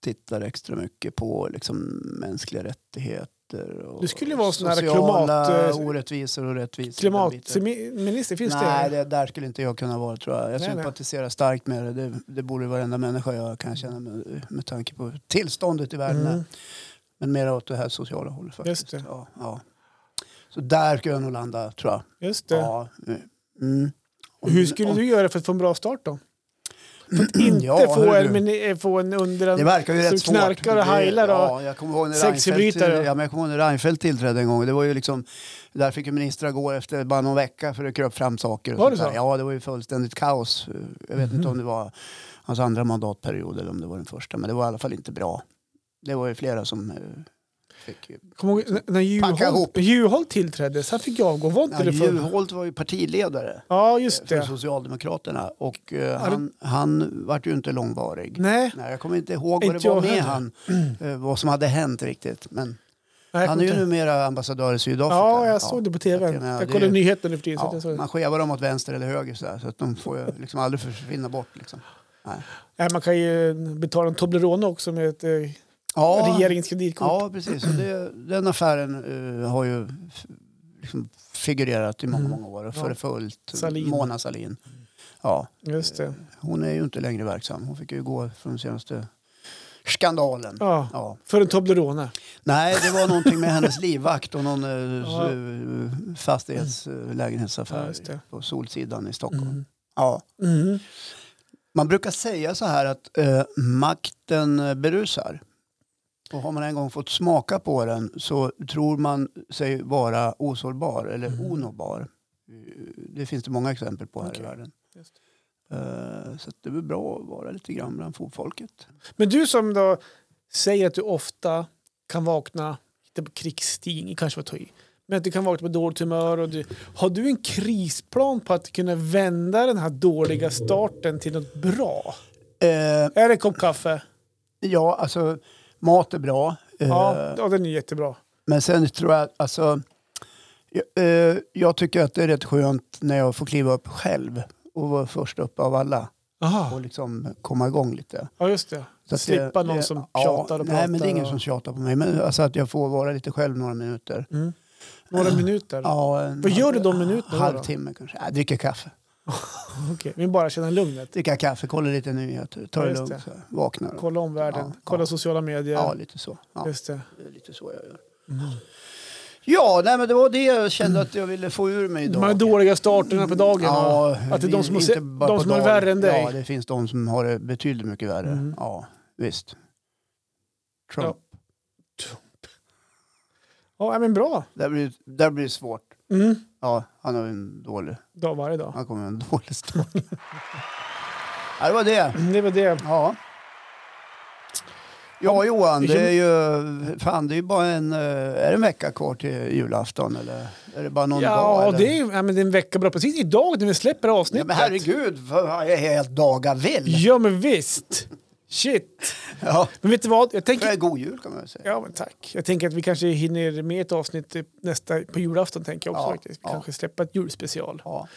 Speaker 1: tittar extra mycket på liksom, mänskliga rättigheter och
Speaker 2: Du skulle vara sån här
Speaker 1: sociala
Speaker 2: klimat-
Speaker 1: orättvisor och rättvisor. Den biten.
Speaker 2: Klimatminister, finns
Speaker 1: Nej,
Speaker 2: det?
Speaker 1: det där skulle inte jag kunna vara tror jag. Jag
Speaker 2: Nej, nej.
Speaker 1: sympatiserar starkt med det. det. Det borde varenda människa jag kan känna med, med tanke på tillståndet i världen. är.
Speaker 2: Mm.
Speaker 1: Men mer åt det här sociala hållet faktiskt.
Speaker 2: Just det.
Speaker 1: Ja, ja. Så där skulle jag nog landa tror jag.
Speaker 2: Just det.
Speaker 1: Ja. Mm.
Speaker 2: Och Hur skulle du göra för att få en bra start då? För att inte
Speaker 1: Ja,
Speaker 2: få,
Speaker 1: hörru
Speaker 2: en,
Speaker 1: du.
Speaker 2: men, eh, få en undran.
Speaker 1: Det verkar ju
Speaker 2: som
Speaker 1: rätt svårt.
Speaker 2: knarkar och
Speaker 1: Det-
Speaker 2: heilar och
Speaker 1: ja, jag kommer ihåg när
Speaker 2: sexförbrytare.
Speaker 1: Reinfeldt- Ja, men jag kommer ihåg när Reinfeldt tillträdde en gång. Det var ju liksom, där fick ju ministrar gå efter bara någon vecka för att kröp fram saker. och
Speaker 2: Var det
Speaker 1: sånt
Speaker 2: så? Mhm.
Speaker 1: där. Ja, det var ju fullständigt kaos. Jag vet inte om det var hans andra mandatperiod eller om det var den första. Men det var i alla fall inte bra. Det var ju flera som eh, fick...
Speaker 2: Kommer ihåg när- när
Speaker 1: Packa
Speaker 2: Juholt,
Speaker 1: ihop.
Speaker 2: Juholt tillträdde, så han fick jag avgå. Var inte
Speaker 1: Ja,
Speaker 2: det för...
Speaker 1: Juholt var ju partiledare.
Speaker 2: Ja, just
Speaker 1: för
Speaker 2: det.
Speaker 1: Socialdemokraterna och eh,
Speaker 2: det-
Speaker 1: han, han vart ju inte långvarig. Nej.
Speaker 2: Nej,
Speaker 1: jag kommer inte ihåg vad
Speaker 2: Inte
Speaker 1: det var
Speaker 2: jag
Speaker 1: med
Speaker 2: heller.
Speaker 1: han, eh, vad som hade hänt riktigt. Men
Speaker 2: nej
Speaker 1: han är ju
Speaker 2: inte.
Speaker 1: numera ambassadör i Sydafrika.
Speaker 2: Ja, jag såg det på tv.
Speaker 1: jag menar,
Speaker 2: Jag
Speaker 1: det-
Speaker 2: kollade nyheterna nu för tiden. så
Speaker 1: Ja,
Speaker 2: att jag såg det.
Speaker 1: man skevar dem åt vänster eller höger så, så att de får ju liksom aldrig försvinna bort. Liksom. Nej.
Speaker 2: Nej, Man kan ju eh, betala en Toblerone också med ett eh,
Speaker 1: Ja,
Speaker 2: regeringens kreditkort.
Speaker 1: ja, precis. Och det, den affären eh, har ju f- liksom figurerat i många,
Speaker 2: Mm.
Speaker 1: många år och
Speaker 2: Ja.
Speaker 1: förföljt
Speaker 2: Salin. Mm.
Speaker 1: Mona Salin. Ja,
Speaker 2: Just det.
Speaker 1: hon är ju inte längre verksam. Hon fick ju gå från den senaste skandalen.
Speaker 2: Ja.
Speaker 1: Ja.
Speaker 2: För en Toblerone.
Speaker 1: Nej, det var någonting med hennes livvakt och någon eh,
Speaker 2: Ja. Mm.
Speaker 1: ja.
Speaker 2: Ja,
Speaker 1: fastighetslägenhetsaffär
Speaker 2: just det.
Speaker 1: eh, på Solsidan i Stockholm.
Speaker 2: Mm.
Speaker 1: Ja.
Speaker 2: Mm.
Speaker 1: Man brukar säga så här att eh, makten eh, berusar. Och har man en gång fått smaka på den så tror man sig vara osårbar eller
Speaker 2: Mm.
Speaker 1: onåbar. Eh, Det finns det många exempel på här
Speaker 2: Okej.
Speaker 1: i världen.
Speaker 2: Just
Speaker 1: Eh, så att det är väl bra att vara lite grann bland fotfolket.
Speaker 2: Men du som då säger att du ofta kan vakna, inte på krigsstigning kanske var att ta i, men att du kan vakna på dåligt humör. Och du, har du en krisplan på att kunna vända den här dåliga starten till något bra?
Speaker 1: Eh,
Speaker 2: Är det en kopp kaffe?
Speaker 1: ja, alltså mat är bra. Eh,
Speaker 2: Ja, ja den är jättebra.
Speaker 1: Men sen tror jag, alltså, jag, eh, jag tycker att det är rätt skönt när jag får kliva upp själv och vara först upp av alla och
Speaker 2: Aha.
Speaker 1: liksom komma igång lite.
Speaker 2: Ja, just det.
Speaker 1: Så att
Speaker 2: Ah. Slippa
Speaker 1: det-
Speaker 2: någon
Speaker 1: det-
Speaker 2: som
Speaker 1: ja,
Speaker 2: tjatar och
Speaker 1: Nej, men det
Speaker 2: pratar
Speaker 1: är ingen
Speaker 2: och-
Speaker 1: som tjatar på mig. Men alltså att jag får vara lite själv några minuter.
Speaker 2: Mm. Några minuter?
Speaker 1: Ah. Ja, en
Speaker 2: Vad gör du de
Speaker 1: halv-
Speaker 2: minuterna då?
Speaker 1: Halvtimme kanske. Jag dricker kaffe.
Speaker 2: Okej, vi bara känna lugnet.
Speaker 1: Dricker kaffe, kollar lite nyheter, tar
Speaker 2: Ja,
Speaker 1: det
Speaker 2: just
Speaker 1: lugnt. Så här. Vaknar.
Speaker 2: Kolla omvärlden,
Speaker 1: Ja,
Speaker 2: kolla
Speaker 1: ja.
Speaker 2: sociala medier.
Speaker 1: Ja, lite så. Ja,
Speaker 2: Just det.
Speaker 1: det är lite så jag gör.
Speaker 2: Mm.
Speaker 1: Ja, nej, men det var det jag kände att jag ville få ur mig idag.
Speaker 2: De här dåliga starterna på dagen.
Speaker 1: Ja,
Speaker 2: och att det är de som, har,
Speaker 1: inte
Speaker 2: se-
Speaker 1: bara
Speaker 2: de
Speaker 1: på
Speaker 2: som har det
Speaker 1: dagen.
Speaker 2: värre än dig.
Speaker 1: Ja, det finns de som har det betydligt mycket värre.
Speaker 2: Mm.
Speaker 1: Ja, visst. Trump.
Speaker 2: Ja, men bra.
Speaker 1: Där, blir, där blir det svårt.
Speaker 2: Mm.
Speaker 1: Ja, han har ju en dålig...
Speaker 2: Dag, varje dag.
Speaker 1: Han kommer med en dålig start. ja, det var det.
Speaker 2: Mm, Det var det.
Speaker 1: Ja. Ja, Johan,
Speaker 2: vi känner-
Speaker 1: det är ju... Fan, det är ju bara en... eh, Är det en vecka kvar till julafton eller är det bara någon dag?
Speaker 2: Ja,
Speaker 1: eller?
Speaker 2: det är, ja, men det är en vecka bra. Precis idag när vi släpper avsnittet.
Speaker 1: Ja, men herregud, vad jag är helt dagavill.
Speaker 2: Ja, men visst. Shit.
Speaker 1: Ja.
Speaker 2: Men vet du vad? Jag
Speaker 1: För
Speaker 2: tänker,
Speaker 1: en god jul kan man väl säga.
Speaker 2: ja, men tack. jag tänker att vi kanske hinner med ett avsnitt eh, nästa, på julafton. Tänker jag också
Speaker 1: Ja,
Speaker 2: faktiskt.
Speaker 1: ja.
Speaker 2: Kanske släppa ett julspecial.
Speaker 1: Ja.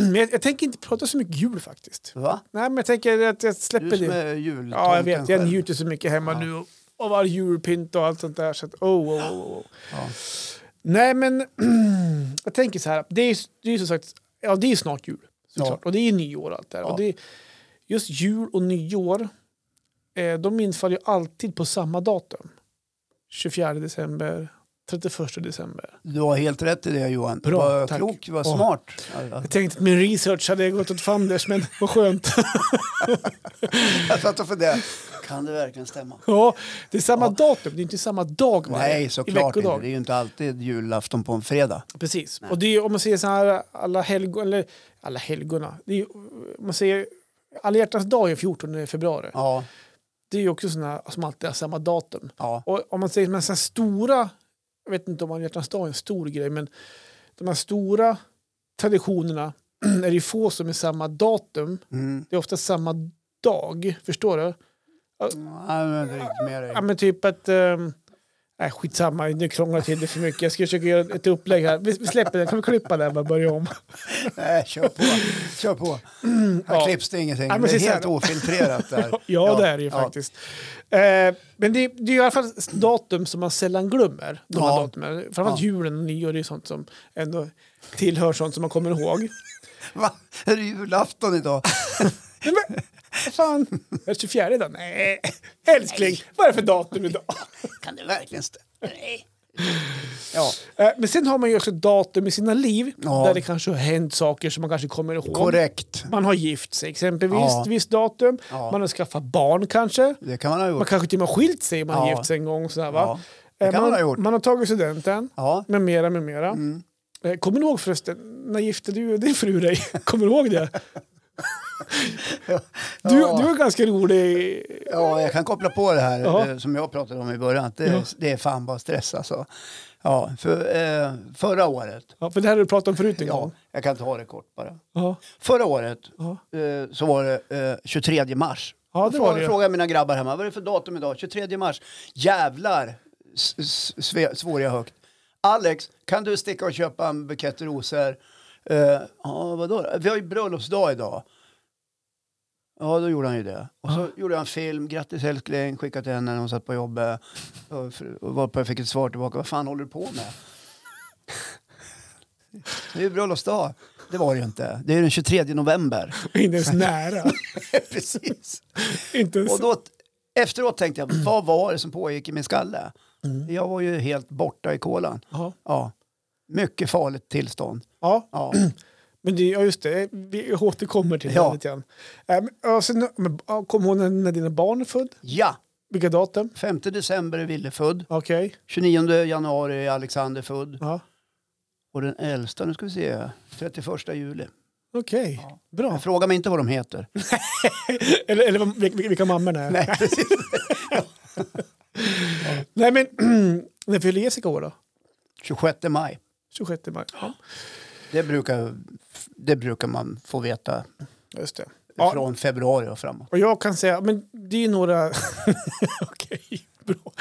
Speaker 2: Men jag, jag tänker inte prata så mycket jul faktiskt.
Speaker 1: Va?
Speaker 2: Nej, men jag tänker att jag släpper
Speaker 1: Du som
Speaker 2: det.
Speaker 1: är jultomten
Speaker 2: Ja, jag vet. Jag
Speaker 1: själv.
Speaker 2: njuter så mycket hemma
Speaker 1: Ja.
Speaker 2: nu och- av all julpynt och allt sånt där. Så att, oh, oh, oh, oh.
Speaker 1: Ja.
Speaker 2: Nej, men jag tänker så här. Det är, det är ju som sagt, ja, det är snart jul. Såklart. Och det är ju nyår och allt det här.
Speaker 1: Ja.
Speaker 2: Och det är, just jul och nyår, eh, de infaller ju alltid på samma datum. 24 december, 31 december.
Speaker 1: Du har helt rätt i det Johan.
Speaker 2: Bra,
Speaker 1: vad
Speaker 2: tack.
Speaker 1: klok, vad
Speaker 2: Ja.
Speaker 1: smart.
Speaker 2: Jag tänkte att min research hade gått åt fanders, men vad skönt.
Speaker 1: Jag satt och funderade, kan det verkligen stämma?
Speaker 2: Ja, det är samma
Speaker 1: Ja.
Speaker 2: datum, det är inte samma dag va?
Speaker 1: Nej, såklart inte.
Speaker 2: veckodag.
Speaker 1: Det är ju inte alltid julafton på en fredag.
Speaker 2: Precis. Och det är, ju- om man säger så här, alla helgon, eller alla helgona, det är, ju- om man säger alla hjärtans dag är 14 februari.
Speaker 1: Ja,
Speaker 2: Det är ju också sådana som alltid har samma datum.
Speaker 1: ja.
Speaker 2: Och om man säger de här så här stora, jag vet inte om alla hjärtans dag är en stor grej, men de här stora traditionerna är det ju få som är samma datum.
Speaker 1: Mm.
Speaker 2: Det är ofta samma dag, förstår du?
Speaker 1: Nej, men det är inte med dig.
Speaker 2: Ja, men typ att... Um, nej, skitsamma, nu krånglar jag till det för mycket. Jag ska försöka göra ett upplägg här. Vi, vi släpper det, kan vi klippa det här och börja om?
Speaker 1: Nej, kör på. Kör på. Här
Speaker 2: ja.
Speaker 1: klipps det ingenting.
Speaker 2: Ja, men
Speaker 1: det är
Speaker 2: precis
Speaker 1: helt
Speaker 2: så
Speaker 1: ofiltrerat där.
Speaker 2: Ja, det är det ju
Speaker 1: ja.
Speaker 2: faktiskt. Eh, men det, det är ju i alla fall datum som man sällan glömmer. De här
Speaker 1: Ja.
Speaker 2: datumen. Framförallt
Speaker 1: Ja.
Speaker 2: julen och nyår, det är sånt som ändå tillhör sånt som man kommer ihåg.
Speaker 1: Va? Är det julafton idag?
Speaker 2: Nej, Men, vad fan, är det 24 idag? Nej, älskling, vad är det för datum idag?
Speaker 1: Kan det verkligen stämma? Nej. Ja,
Speaker 2: Eh, men sen har man ju också datum i sina liv
Speaker 1: Ja.
Speaker 2: där det kanske har hänt saker som man kanske kommer ihåg.
Speaker 1: korrekt.
Speaker 2: Man har gift sig exempelvis,
Speaker 1: Ja.
Speaker 2: visst datum.
Speaker 1: Ja.
Speaker 2: Man har skaffat barn kanske.
Speaker 1: Det kan man ha
Speaker 2: Man
Speaker 1: gjort.
Speaker 2: kanske till och med har skilt sig om man har
Speaker 1: Ja.
Speaker 2: gift sig en gång. Sådär, va?
Speaker 1: Ja, det
Speaker 2: Eh,
Speaker 1: kan man ha gjort.
Speaker 2: man har tagit studenten,
Speaker 1: Ja.
Speaker 2: med mera, med mera.
Speaker 1: Mm.
Speaker 2: Eh, Kommer du ihåg förresten, när gifte du din fru dig? Kommer du ihåg det? Du,
Speaker 1: Ja.
Speaker 2: du var ganska rolig.
Speaker 1: Ja, jag kan koppla på det här
Speaker 2: Ja.
Speaker 1: eh, som jag pratade om i början. Det,
Speaker 2: Ja.
Speaker 1: det är fan bara stress alltså. Ja, för, eh, förra året,
Speaker 2: Ja, för det här har du pratat om förut en
Speaker 1: ja,
Speaker 2: gång.
Speaker 1: jag kan ta det kort bara.
Speaker 2: Ja.
Speaker 1: Förra året
Speaker 2: Ja.
Speaker 1: eh, så var det eh, 23 mars.
Speaker 2: Ja, det var det
Speaker 1: Jag
Speaker 2: ju.
Speaker 1: frågade mina grabbar hemma, vad är det för datum idag? 23 mars. Jävlar, s- s- sve- svor jag högt. Alex, kan du sticka och köpa en bukett rosor? Eh, Ja, vadå då? Vi har ju bröllopsdag idag. Ja, då gjorde han ju det. Och så
Speaker 2: Ah.
Speaker 1: gjorde jag en film, grattis älskling, skickade till henne när hon satt på jobbet. Och fr- och varpå jag fick ett svar tillbaka, vad fan håller du på med? Det är ju bröllopsdag. Det var det ju inte. Det är ju den 23 november.
Speaker 2: Inte ens nära.
Speaker 1: Precis.
Speaker 2: Inte ens.
Speaker 1: Och då, efteråt tänkte jag, vad var det som pågick i min skalle?
Speaker 2: Mm.
Speaker 1: Jag var ju helt borta i kolan.
Speaker 2: Ja.
Speaker 1: Ja. Mycket farligt tillstånd.
Speaker 2: Ja,
Speaker 1: Ja.
Speaker 2: men det, ja, just det. Vi återkommer till det
Speaker 1: Ja.
Speaker 2: lite grann. Eh, men, ja, sen, men, ja, kom hon när, när dina barn är född?
Speaker 1: ja,
Speaker 2: Vilka datum?
Speaker 1: 5 december är Ville född.
Speaker 2: Okej.
Speaker 1: 29 januari är Alexander född.
Speaker 2: Ja.
Speaker 1: Och den äldsta, nu ska vi se, 31 juli.
Speaker 2: Okej, bra.
Speaker 1: Men Fråga mig inte vad de heter.
Speaker 2: Eller, eller vad- vilka, vilka mammorna är.
Speaker 1: Nej, precis.
Speaker 2: Nej men, när fyller Jessica år då?
Speaker 1: 26 maj.
Speaker 2: 26 maj. Ja,
Speaker 1: Det brukar, det brukar man få veta
Speaker 2: just det. Ja,
Speaker 1: från februari och framåt.
Speaker 2: och jag kan säga, men det är ju några... Okej, bra.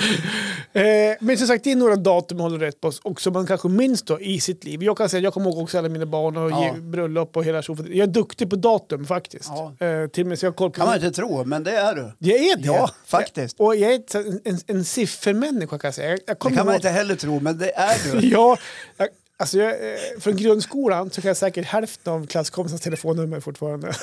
Speaker 2: Eh, men som sagt, det är några datum man håller rätt på och som man kanske minns då i sitt liv. Jag kan säga, jag kommer ihåg också alla mina barn och
Speaker 1: Ja.
Speaker 2: ge- bröllop och hela tjofaderittan. Jag är duktig på datum faktiskt.
Speaker 1: Ja.
Speaker 2: Eh, till och med så jag har koll på...
Speaker 1: kan man inte tro, men det är du.
Speaker 2: Jag är det.
Speaker 1: Ja, faktiskt.
Speaker 2: Och jag är ett- en, en, en siffermänniska kan jag säga. Jag, jag
Speaker 1: Det
Speaker 2: kommer
Speaker 1: kan man
Speaker 2: ihåg-
Speaker 1: inte heller tro, men det är du.
Speaker 2: Ja, jag, alltså jag, eh, från grundskolan så kan jag säkert hälften av klasskompisarnas telefonnummer fortfarande.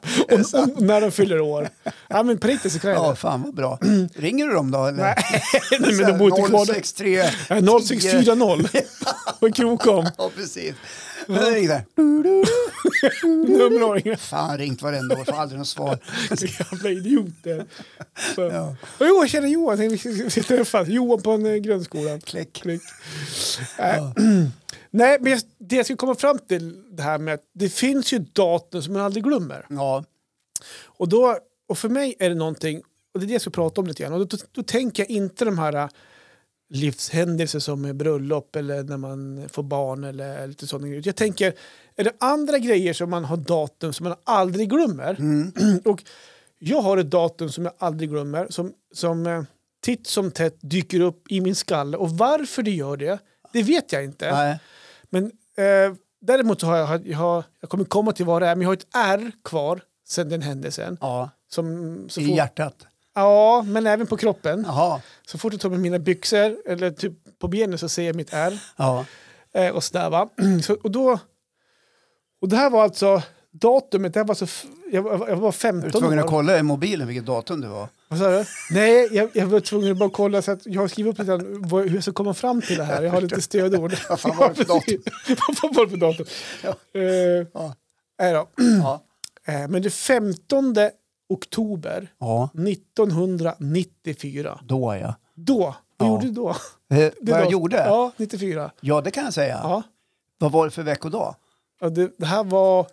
Speaker 2: och, och när de fyller år. Ja, men på riktigt så kan jag
Speaker 1: Ja,
Speaker 2: det.
Speaker 1: fan vad bra. Ringer du dem då? Eller?
Speaker 2: Nej, Nej, men de bor inte kvar där.
Speaker 1: 063.
Speaker 2: Eh, 0640 och Krokom.
Speaker 1: Ja, precis. Men det ringde där.
Speaker 2: Nummeråringar.
Speaker 1: Fan, ringt varenda år, får aldrig något svar.
Speaker 2: Jävla idioter. Så. Och jo, jag känner Johan. Vi vi träffas. Johan på en eh, grundskola.
Speaker 1: Klick.
Speaker 2: Klick. Eh, Nej, men jag- det jag skulle komma fram till det här med att det finns ju datum som man aldrig glömmer.
Speaker 1: Ja,
Speaker 2: Och, då, och för mig är det någonting, och det är det jag ska prata om lite grann, och då, då tänker jag inte de här äh, livshändelser som är bröllop eller när man får barn eller lite sådana grejer. Jag tänker, är det andra grejer som man har datum som man aldrig glömmer? Och jag har ett datum som jag aldrig glömmer som, som eh, titt som tätt dyker upp i min skalle och varför det gör det, det vet jag inte.
Speaker 1: nej.
Speaker 2: Men eh, däremot så har jag, jag, har, jag kommer komma till vad det är, men jag har ett R kvar sen den händelsen.
Speaker 1: Ja.
Speaker 2: Som, så
Speaker 1: I
Speaker 2: fort,
Speaker 1: hjärtat.
Speaker 2: ja, men även på kroppen.
Speaker 1: Jaha.
Speaker 2: Så fort jag tar med mina byxor eller typ på benen så ser jag mitt R.
Speaker 1: Ja.
Speaker 2: Eh, och sådär va. Så, och då, och Och det här var alltså datumet, det här var alltså, f- jag, var- jag var
Speaker 1: Är du
Speaker 2: 15
Speaker 1: tvungen att
Speaker 2: år.
Speaker 1: kolla i mobilen vilket datum det var?
Speaker 2: Vad sa du? Nej, jag, jag var tvungen att bara kolla så att jag har skrivit upp lite grann vad- hur jag ska komma fram till det här. Jag har lite stödord.
Speaker 1: Vad fan var det för
Speaker 2: Ja, precis. Vad var det för datum? Eh,
Speaker 1: Ja.
Speaker 2: nej då.
Speaker 1: Ja.
Speaker 2: Eh, men det 15 oktober
Speaker 1: ja.
Speaker 2: 1994,
Speaker 1: Då ja.
Speaker 2: då, vad
Speaker 1: Ja.
Speaker 2: gjorde du då?
Speaker 1: Eh,
Speaker 2: Det
Speaker 1: vad jag
Speaker 2: då-
Speaker 1: gjorde? Ja.
Speaker 2: Ja, 94.
Speaker 1: det kan jag säga.
Speaker 2: Ja.
Speaker 1: Vad var det för veckodag?
Speaker 2: Ja, det, det här var...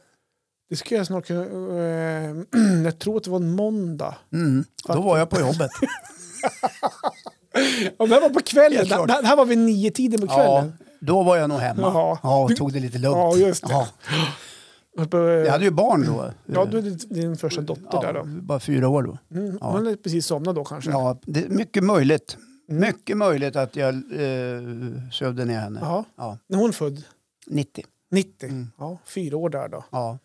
Speaker 2: Det skulle jag snart kunna... eh, jag tror att det var en måndag.
Speaker 1: Mm. Då var jag på jobbet.
Speaker 2: Ja, det här var på kvällen.
Speaker 1: Helt
Speaker 2: Det,
Speaker 1: klart.
Speaker 2: det här var vid nio tiden på
Speaker 1: ja,
Speaker 2: kvällen.
Speaker 1: då var jag nog hemma.
Speaker 2: Jaha.
Speaker 1: Ja,
Speaker 2: Du-
Speaker 1: och tog det lite lugnt.
Speaker 2: Ja, just det.
Speaker 1: Ja.
Speaker 2: Ja,
Speaker 1: Jag hade ju barn då.
Speaker 2: eh, ja du är din första dotter där då.
Speaker 1: Bara fyra år då.
Speaker 2: Mm,
Speaker 1: ja.
Speaker 2: Hon hade precis somnat då kanske.
Speaker 1: Ja, det är mycket möjligt. Mycket möjligt att jag eh, sövde ner henne.
Speaker 2: Ja.
Speaker 1: Ja,
Speaker 2: När hon är född?
Speaker 1: 90.
Speaker 2: 90.
Speaker 1: Mm.
Speaker 2: Ja, fyra år där då.
Speaker 1: Ja,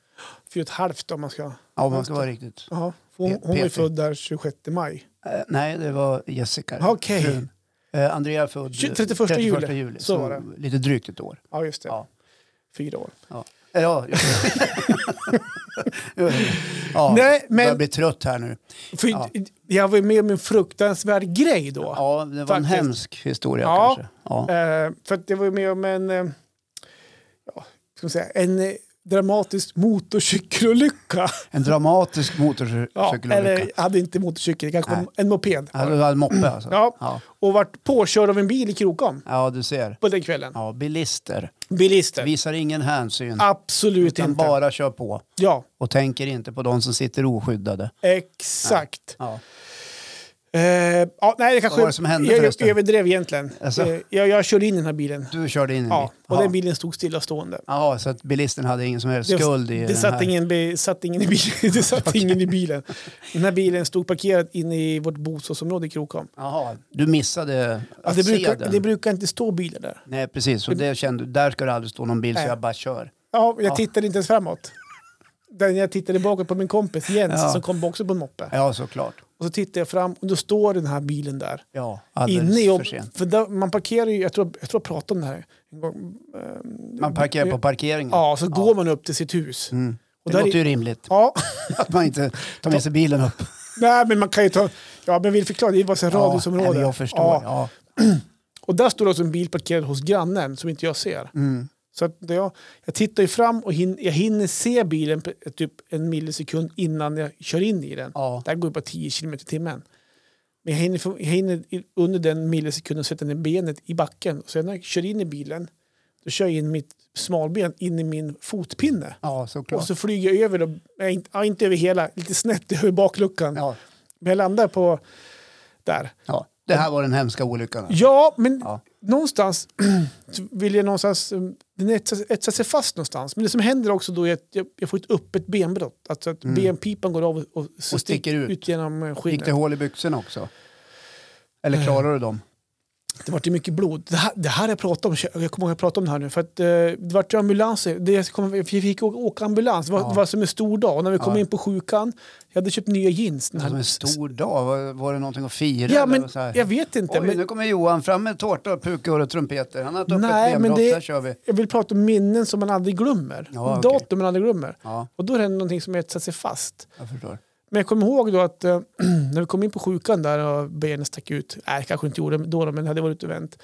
Speaker 2: Fyra och ett halvt om man ska...
Speaker 1: ja man ska vara riktigt.
Speaker 2: Ja, för hon,
Speaker 1: Pe-
Speaker 2: hon var ju
Speaker 1: Peter.
Speaker 2: född där 26 maj.
Speaker 1: Eh, nej, det var Jessica.
Speaker 2: Okej.
Speaker 1: frun. Eh, Andrea är född
Speaker 2: Tju-
Speaker 1: eh,
Speaker 2: 31 juli.
Speaker 1: juli.
Speaker 2: Så
Speaker 1: Så,
Speaker 2: var det.
Speaker 1: lite drygt ett år.
Speaker 2: Ja, just det.
Speaker 1: Ja.
Speaker 2: Fyra år.
Speaker 1: Eh, Ja, ja
Speaker 2: Nej, men-
Speaker 1: men... jag blir trött här nu.
Speaker 2: För
Speaker 1: Ja.
Speaker 2: Jag var ju med om en fruktansvärd grej då.
Speaker 1: Ja, det var
Speaker 2: Faktiskt.
Speaker 1: en hemsk historia
Speaker 2: Ja.
Speaker 1: kanske. Ja.
Speaker 2: Eh, för att det var ju med om en, eh, ja, ska man säga, en eh, dramatisk motorcykelolycka.
Speaker 1: En dramatisk
Speaker 2: Ja,
Speaker 1: motorcykelolycka.
Speaker 2: eller jag hade inte motorcykel, det kanske var
Speaker 1: Nej.
Speaker 2: en moped.
Speaker 1: Ja, du hade moppe alltså?
Speaker 2: Ja.
Speaker 1: ja.
Speaker 2: Och vart påkörd av en bil i Krokom
Speaker 1: Ja, du ser.
Speaker 2: på den kvällen.
Speaker 1: Ja, bilister.
Speaker 2: Bilister.
Speaker 1: Visar ingen hänsyn.
Speaker 2: Absolut
Speaker 1: utan
Speaker 2: Eh. Ah, inte.
Speaker 1: bara kör på.
Speaker 2: Ja,
Speaker 1: Och tänker inte på de som sitter oskyddade.
Speaker 2: exakt.
Speaker 1: Ja.
Speaker 2: Eh, ja, nej, det kanske
Speaker 1: var det som hände
Speaker 2: jag, jag
Speaker 1: förresten?
Speaker 2: överdrev egentligen.
Speaker 1: Alltså.
Speaker 2: Eh, jag, jag körde in i den här bilen.
Speaker 1: Du körde in i
Speaker 2: Ja,
Speaker 1: mitt.
Speaker 2: och
Speaker 1: Ja.
Speaker 2: den bilen stod stillastående.
Speaker 1: Jaha, så att bilisten hade ingen som helst skuld i
Speaker 2: det
Speaker 1: den
Speaker 2: satt
Speaker 1: här.
Speaker 2: ingen, be- satt ingen i bilen. Det satt ingen i bilen. Den här bilen stod parkerad inne i vårt bostadsområde i Krokom.
Speaker 1: Jaha, du missade att
Speaker 2: Alltså, det,
Speaker 1: se
Speaker 2: brukar,
Speaker 1: den.
Speaker 2: det brukar inte stå bilar där.
Speaker 1: Nej, precis. Och det kände du, där ska det aldrig stå någon bil
Speaker 2: Nej.
Speaker 1: så jag bara kör.
Speaker 2: Ja, jag
Speaker 1: Ja.
Speaker 2: tittade inte ens framåt. Den jag tittade bakåt på min kompis Jens
Speaker 1: Ja.
Speaker 2: som kom också på en moppe.
Speaker 1: Ja, såklart.
Speaker 2: Och så tittade jag fram och då står den här bilen där.
Speaker 1: Ja,
Speaker 2: Inne
Speaker 1: alldeles
Speaker 2: i
Speaker 1: för
Speaker 2: jobb,
Speaker 1: sent.
Speaker 2: för där, man parkerar ju, jag tror jag tror jag pratade om det här en gång.
Speaker 1: Man parkerar på parkeringen.
Speaker 2: Ja, så går man upp till sitt hus.
Speaker 1: Mm.
Speaker 2: Och
Speaker 1: Det
Speaker 2: där
Speaker 1: låter
Speaker 2: är,
Speaker 1: ju rimligt
Speaker 2: ja,
Speaker 1: att man inte tar med sig bilen upp.
Speaker 2: nej men man kan ju ta, ja men vill förklara, det var så här
Speaker 1: Ja, nej,
Speaker 2: radhusområde.
Speaker 1: men jag förstår.
Speaker 2: Ja,
Speaker 1: Ja. Ja.
Speaker 2: Och där står det alltså en bil parkerad hos grannen som inte jag ser.
Speaker 1: Mm.
Speaker 2: Så att det jag, jag tittar ju fram och hin, jag hinner se bilen på, typ en millisekund innan jag kör in i den.
Speaker 1: Ja.
Speaker 2: Där går det bara 10 km i timmen. Men jag hinner, få- jag hinner i- under den millisekunden sätta ner benet i backen. Och sen när jag kör in i bilen, då kör jag in mitt smalben in i min fotpinne.
Speaker 1: ja,
Speaker 2: Och
Speaker 1: såklart.
Speaker 2: så flyger jag över, då, nej, inte, ja, inte över hela, lite snett över bakluckan.
Speaker 1: Ja.
Speaker 2: Men jag landar på där.
Speaker 1: Ja. Det här var den hemska olyckan.
Speaker 2: Ja, men
Speaker 1: Ja.
Speaker 2: någonstans så vill jag någonstans, um, den etsar, etsar sig fast någonstans. Men det som händer också då är att jag, jag får ett öppet benbrott. Alltså att benpipan går av och, och, så
Speaker 1: Mm. Och sticker
Speaker 2: stick-
Speaker 1: ut.
Speaker 2: genom eh,
Speaker 1: Gick
Speaker 2: skinnet. Eh,
Speaker 1: det
Speaker 2: Det,
Speaker 1: hål i byxorna också? Eller klarade du dem?
Speaker 2: vart ju mycket blod. Det här, det här jag pratat om, jag kommer ihåg att jag pratade om det här nu. För att eh, det vart ju ambulanser. Det jag kom, vi fick å- åka ambulans. Det var,
Speaker 1: Ja.
Speaker 2: det var som en stor dag. Och när vi kom
Speaker 1: Ja.
Speaker 2: in på sjukan, jag hade köpt nya jeans. Den
Speaker 1: Det var som
Speaker 2: här,
Speaker 1: en stor dag. Var, var det någonting att fira?
Speaker 2: ja,
Speaker 1: eller
Speaker 2: men
Speaker 1: så här?
Speaker 2: jag vet inte.
Speaker 1: Oj,
Speaker 2: men,
Speaker 1: nu kommer Johan fram med tårta, pukor och trumpeter. Han har ett öppet
Speaker 2: Nej, men
Speaker 1: benbrott,
Speaker 2: det-
Speaker 1: där kör vi.
Speaker 2: jag vill prata om minnen som man aldrig glömmer.
Speaker 1: Ja, okej.
Speaker 2: Datum man aldrig glömmer.
Speaker 1: Ja,
Speaker 2: Och då är det någonting som etsat sig fast.
Speaker 1: jag förstår.
Speaker 2: Men jag kommer ihåg då att eh, när vi kom in på sjukan där och benen stack ut, nej kanske inte gjorde det då, men det hade varit och vänt.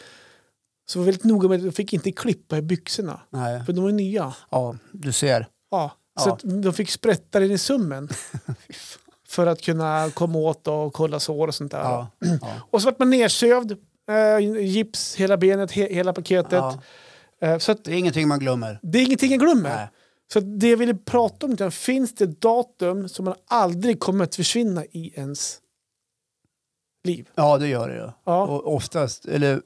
Speaker 2: Så var jag väldigt noga med att jag fick inte klippa i byxorna,
Speaker 1: Nej.
Speaker 2: för de var ju nya.
Speaker 1: Ja, du ser.
Speaker 2: Ja, så
Speaker 1: Ja.
Speaker 2: Att de fick sprätta den i sömmen. för att kunna komma åt och kolla sår och sånt där.
Speaker 1: Ja, ja,
Speaker 2: Och så vart man nedsövd, eh, gips, hela benet, he- hela paketet.
Speaker 1: ja.
Speaker 2: Eh, så att
Speaker 1: Det är ingenting man glömmer.
Speaker 2: det är ingenting jag glömmer.
Speaker 1: Nej.
Speaker 2: Så att det jag ville prata om, utan finns det datum som man aldrig kommer att försvinna i ens liv?
Speaker 1: Ja, det gör det ju.
Speaker 2: Ja.
Speaker 1: Och oftast, eller...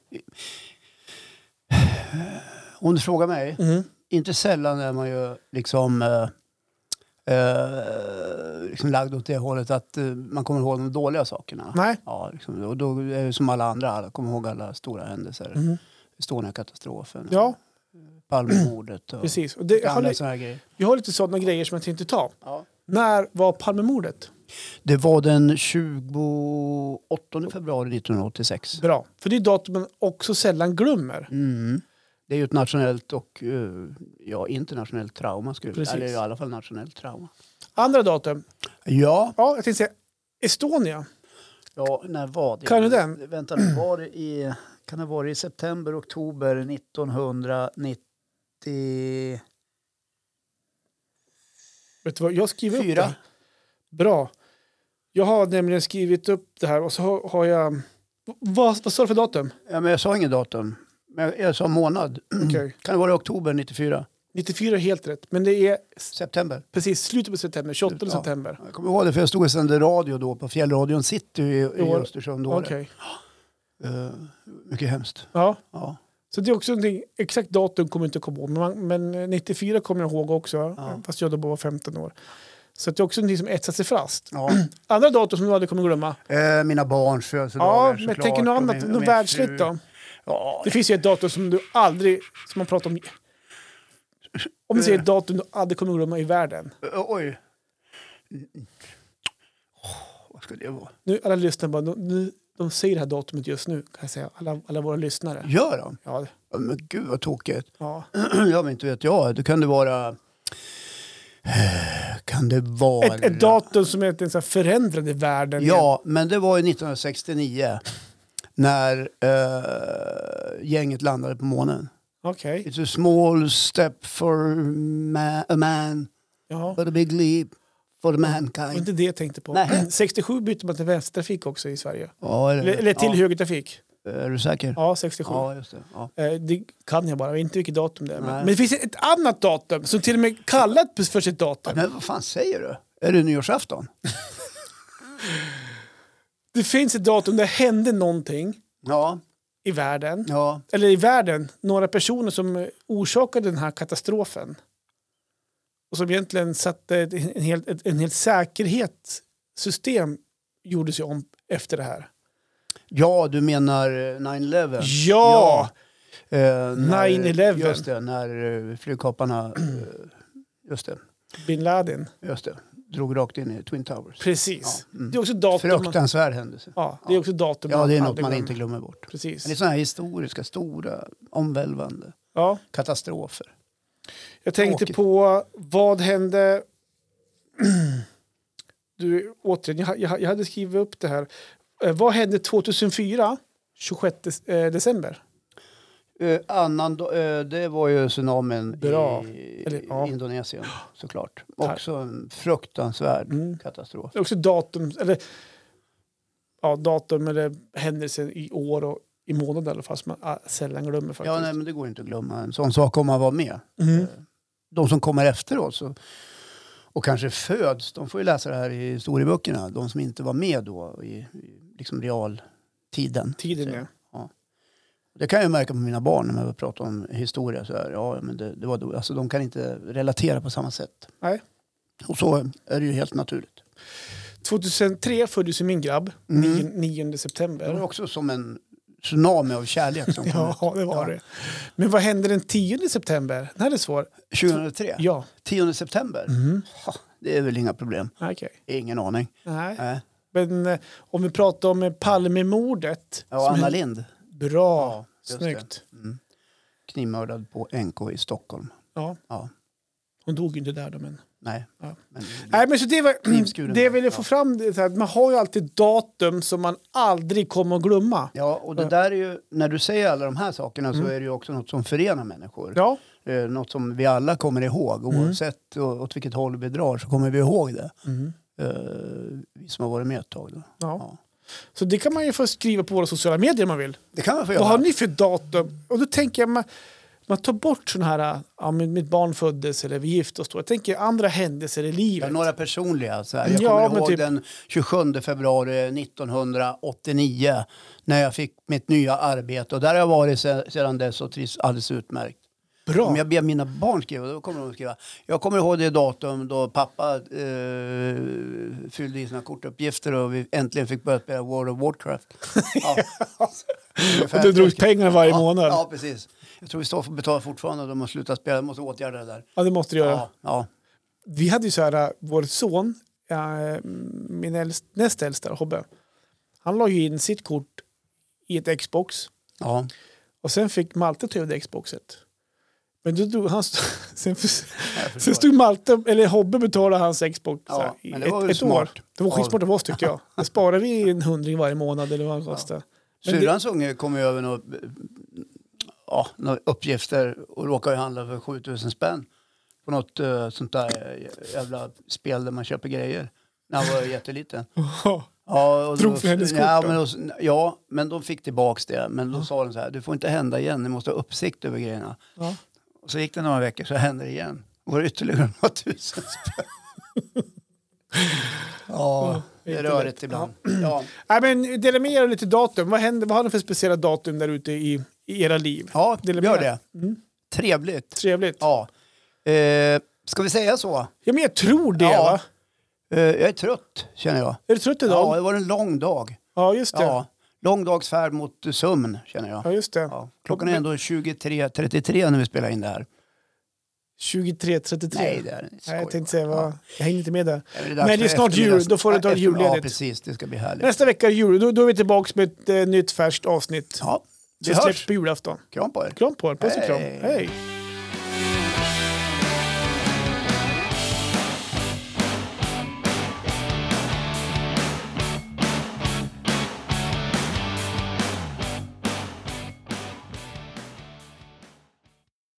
Speaker 1: Om du frågar mig,
Speaker 2: Mm.
Speaker 1: inte sällan är man ju liksom, eh, eh, liksom lagd åt det hållet att eh, man kommer ihåg de dåliga sakerna.
Speaker 2: Nej.
Speaker 1: Ja, liksom, och då är det som alla andra, alla kommer ihåg alla stora händelser.
Speaker 2: Mm.
Speaker 1: Estonia-katastrofen,
Speaker 2: Ja,
Speaker 1: Palmemordet och
Speaker 2: precis. Och det, jag, har,
Speaker 1: andra
Speaker 2: li-
Speaker 1: sådana här grejer.
Speaker 2: jag har lite sådana grejer som jag tänkte ta.
Speaker 1: Ja.
Speaker 2: När var Palmemordet?
Speaker 1: Det var den 28 februari 1986.
Speaker 2: Bra, för det är datum man också sällan glömmer.
Speaker 1: Mm. Det är ju ett nationellt och eh, ja, internationellt trauma. Skulle jag,
Speaker 2: Precis.
Speaker 1: eller i alla fall nationellt trauma.
Speaker 2: Andra datum.
Speaker 1: Ja,
Speaker 2: Ja, jag tänkte säga Estonia.
Speaker 1: ja när var det?
Speaker 2: Kan du den?
Speaker 1: Vänta nu, var det i, kan det ha varit i september, oktober 1994?
Speaker 2: Vet du vad, jag skriver upp det. Bra. Jag har nämligen skrivit upp det här och så har, har jag... V- Vad, vad står det för datum?
Speaker 1: Ja, men jag sa inget datum. Men jag, jag sa månad.
Speaker 2: Okej.
Speaker 1: Kan det vara i oktober 94?
Speaker 2: 94 är helt rätt, men det är s-
Speaker 1: September?
Speaker 2: precis slutet på september, 28
Speaker 1: Ja.
Speaker 2: september.
Speaker 1: Jag kommer ihåg det för jag stod och sände radio då på Fjällradion City i, i
Speaker 2: År.
Speaker 1: Östersund.
Speaker 2: Okej.
Speaker 1: Åre. Eh, mycket hemskt.
Speaker 2: Ja.
Speaker 1: Ja.
Speaker 2: Så det är också någonting, exakt datum kommer jag inte komma ihåg, men, man, men eh, 94 kommer jag ihåg också,
Speaker 1: Ja.
Speaker 2: fast jag då bara var 15 år. Så att det är också någonting som etsat sig fast.
Speaker 1: Ja.
Speaker 2: Andra datum som du aldrig kommer glömma?
Speaker 1: Eh, mina barns
Speaker 2: Ja,
Speaker 1: födelsedagar
Speaker 2: men jag tänker något
Speaker 1: och
Speaker 2: annat,
Speaker 1: min- och
Speaker 2: något
Speaker 1: min fru.
Speaker 2: världsligt då?
Speaker 1: Ja,
Speaker 2: Det finns ju ett datum som du aldrig, som man pratar om, om du säger ett datum du aldrig kommer glömma i världen.
Speaker 1: ö- oj. Mm. Åh, vad skulle det vara?
Speaker 2: Nu alla lyssnare bara, de, nu- de säger det här datumet just nu, kan jag säga, alla, alla våra lyssnare.
Speaker 1: Gör de?
Speaker 2: Ja, det-
Speaker 1: Ja, Men gud vad tokigt.
Speaker 2: ja.
Speaker 1: ja, men inte vet jag. Det kan det vara... Eh, Kan det vara...
Speaker 2: Ett, ett datum som egentligen så här förändrade världen.
Speaker 1: Ja, men det var ju 1969 när eh, gänget landade på månen.
Speaker 2: Okej.
Speaker 1: It's a small step for ma- a man,
Speaker 2: Ja.
Speaker 1: but a big leap for
Speaker 2: Och
Speaker 1: mankind.
Speaker 2: inte det jag tänkte på.
Speaker 1: Nej.
Speaker 2: 67 bytte man till vänstertrafik också i Sverige.
Speaker 1: Ja,
Speaker 2: Eller, eller till
Speaker 1: ja.
Speaker 2: högertrafik.
Speaker 1: Är du säker?
Speaker 2: Ja, 67.
Speaker 1: Ja, just det. Ja.
Speaker 2: Eh, Det kan jag bara, jag vet inte vilket datum det är. Men,
Speaker 1: Nej.
Speaker 2: men det finns ett annat datum som till och med kallat för sitt datum.
Speaker 1: Men vad fan säger du? Är det nyårsafton?
Speaker 2: Det finns ett datum där det hände någonting
Speaker 1: Ja,
Speaker 2: i världen.
Speaker 1: ja.
Speaker 2: Eller i världen, några personer som eh, orsakade den här katastrofen. Och som egentligen satte ett, en, hel, ett, en helt säkerhetssystem gjordes ju om efter det här.
Speaker 1: ja du menar eh, 9-11?
Speaker 2: ja.
Speaker 1: Eh, när-
Speaker 2: 9/11.
Speaker 1: Just det, när eh, flygkaparna... eh, Just det,
Speaker 2: bin Laden.
Speaker 1: just det. Drog rakt in i Twin Towers.
Speaker 2: Precis.
Speaker 1: Ja, mm.
Speaker 2: Det är också datum. man-
Speaker 1: Fruktansvärd händelse.
Speaker 2: Ja, det är också datum.
Speaker 1: Ja,
Speaker 2: man
Speaker 1: det är något
Speaker 2: aldrig
Speaker 1: man
Speaker 2: glömmer.
Speaker 1: inte glömmer bort. Men det är
Speaker 2: Precis.
Speaker 1: sådana här historiska, stora, omvälvande
Speaker 2: Ja,
Speaker 1: katastrofer.
Speaker 2: jag tänkte
Speaker 1: Tråkigt.
Speaker 2: på vad hände... Du, återigen, jag, jag, jag hade skrivit upp det här. Eh, vad hände 2004, 26 eh, december?
Speaker 1: Eh, annan, do- eh, det var ju tsunamin
Speaker 2: Bra.
Speaker 1: i
Speaker 2: Eller, ja.
Speaker 1: Indonesien såklart.
Speaker 2: Tack.
Speaker 1: Också en fruktansvärd
Speaker 2: Mm.
Speaker 1: katastrof.
Speaker 2: Det är också datum, eller, ja, datum eller händelser i år och i månad i alla fall som man ah, sällan glömmer faktiskt.
Speaker 1: Ja, nej, men det går inte att glömma en sån sak om man var med.
Speaker 2: Mm.
Speaker 1: De som kommer efter oss och, och kanske föds, de får ju läsa det här i historieböckerna. De som inte var med då i, i liksom realtiden.
Speaker 2: Tiden är.
Speaker 1: Det kan jag märka på mina barn när vi pratar om historia. Så här, ja, men det, det var då. Alltså, de kan inte relatera på samma sätt.
Speaker 2: Nej.
Speaker 1: Och så är det ju helt naturligt.
Speaker 2: 2003 föddes ju min grabb,
Speaker 1: Mm.
Speaker 2: 9, 9
Speaker 1: Det var
Speaker 2: september.
Speaker 1: också som en tsunami av kärlek som kom
Speaker 2: Ja, det var det. Men vad hände den 10 september? Den här är svår.
Speaker 1: ut. 2003,
Speaker 2: Ja,
Speaker 1: 10 september.
Speaker 2: Mhm.
Speaker 1: Ha, det är väl inga problem.
Speaker 2: okej.
Speaker 1: Ingen aning.
Speaker 2: Nej.
Speaker 1: Nej.
Speaker 2: Men eh, om vi pratar om eh, Palmemordet.
Speaker 1: Ja,
Speaker 2: som
Speaker 1: Anna
Speaker 2: hände-
Speaker 1: Lind
Speaker 2: Bra,
Speaker 1: just
Speaker 2: snyggt.
Speaker 1: mm. knivmördad på NK i Stockholm.
Speaker 2: Ja.
Speaker 1: Ja.
Speaker 2: Hon dog ju inte där då, men...
Speaker 1: Nej.
Speaker 2: Ja.
Speaker 1: Men,
Speaker 2: Nej, men så det, var,
Speaker 1: Knivskuren
Speaker 2: det
Speaker 1: där,
Speaker 2: jag ville få
Speaker 1: ja.
Speaker 2: fram det är så här, att man har ju alltid datum som man aldrig kommer att glömma.
Speaker 1: ja, och det där är ju, när du säger alla de här sakerna så är det ju också något som förenar människor.
Speaker 2: Mm. Ja, Mm.
Speaker 1: Eh, något som vi alla kommer ihåg. Oavsett å- åt vilket håll vi drar så kommer vi ihåg det.
Speaker 2: Mm.
Speaker 1: Eh, vi som har varit med ett tag. Då.
Speaker 2: ja.
Speaker 1: Ja.
Speaker 2: Så det kan man ju få skriva på våra sociala medier om man vill.
Speaker 1: Det kan man få göra.
Speaker 2: Vad har ni för datum? Och då tänker jag, man, man tar bort sådana här, ja, men mitt barn föddes eller vi gifte oss då. Jag tänker andra händelser i
Speaker 1: Ja,
Speaker 2: livet.
Speaker 1: några personliga. Så här. Jag
Speaker 2: Ja, men
Speaker 1: kommer ihåg
Speaker 2: typ-
Speaker 1: den 27 februari 1989 när jag fick mitt nya arbete. Och där har jag varit se- sedan dess och trivs alldeles utmärkt.
Speaker 2: Bra.
Speaker 1: Om jag ber mina barn skriva, då kommer de att skriva. Jag kommer ihåg det datum då pappa eh, fyllde i sina kortuppgifter och vi äntligen fick börja spela World of Warcraft. Ja.
Speaker 2: Och du drog pengar varje månad.
Speaker 1: Ja, precis. Jag tror vi står för betala fortfarande och de har slutat spela. De måste åtgärda det där.
Speaker 2: Ja, det måste du göra.
Speaker 1: Ja, ja.
Speaker 2: Vi hade ju så här, vår son, eh, min äldst, näst äldsta, Hobbe, han la ju in sitt kort i ett Xbox.
Speaker 1: ja.
Speaker 2: Och Och sen fick Malte ta över Xboxet. Men då drog han... sen,
Speaker 1: Jag förstår.
Speaker 2: sen stod Malte, eller Hobbe betalade hans Xbox
Speaker 1: Ja,
Speaker 2: så här, i
Speaker 1: men det var väl
Speaker 2: ett, ett år.
Speaker 1: smart.
Speaker 2: Det var skitsmart av oss tyckte jag. Då sparade vi en hundring varje månad eller vad han kostade. Men det-
Speaker 1: Syrrans unge kom ju över några, ja, några uppgifter och råkade ju handla för 7000 spänn på något eh, sånt där eh, jävla spel där man köper grejer när han var jätteliten. Ja, och
Speaker 2: Drog
Speaker 1: då-
Speaker 2: för hennes kort
Speaker 1: ja,
Speaker 2: då?
Speaker 1: men, då- ja, men de fick tillbaks det. Men då sa de så här, det får inte hända igen, ni måste ha uppsikt över grejerna.
Speaker 2: Ja.
Speaker 1: Och så gick det några veckor så hände det igen. Då var det ytterligare några tusen. ja, det är rörigt ibland. Ja.
Speaker 2: Nej, men dela med er av lite datum. Vad, händer, vad har ni för speciella datum där ute i, i era liv?
Speaker 1: Ja,
Speaker 2: Dela med
Speaker 1: gör
Speaker 2: er.
Speaker 1: det. Trevligt.
Speaker 2: Trevligt. Ja.
Speaker 1: Ja. Eh, ska vi säga så?
Speaker 2: men jag tror det
Speaker 1: Ja.
Speaker 2: va?
Speaker 1: Eh, jag är trött, känner jag.
Speaker 2: Är du trött idag?
Speaker 1: Ja,
Speaker 2: Ja,
Speaker 1: det var en lång dag.
Speaker 2: just det. Ja.
Speaker 1: Ja, lång dags färd mot eh, sömn, känner jag.
Speaker 2: just det.
Speaker 1: Ja. Klockan är ändå 23.33 när vi spelar in det här.
Speaker 2: 23.33.
Speaker 1: Nej, det är det inte.
Speaker 2: Nej, jag
Speaker 1: Skoj
Speaker 2: tänkte säga,
Speaker 1: bara.
Speaker 2: vad, jag hänger inte med där.
Speaker 1: Ja, är dags
Speaker 2: Men det är
Speaker 1: för
Speaker 2: snart jul,
Speaker 1: eftermiddags-
Speaker 2: då får du ta
Speaker 1: efter-
Speaker 2: julledigt.
Speaker 1: Ja, precis. Det ska bli härligt.
Speaker 2: Nästa vecka är jul, då, då är vi tillbaka med ett eh, nytt färskt avsnitt.
Speaker 1: Ja, vi
Speaker 2: som
Speaker 1: hörs.
Speaker 2: släpps på julafton.
Speaker 1: Kram på er.
Speaker 2: Kram på er, puss och kram.
Speaker 1: Hej.
Speaker 2: Hej.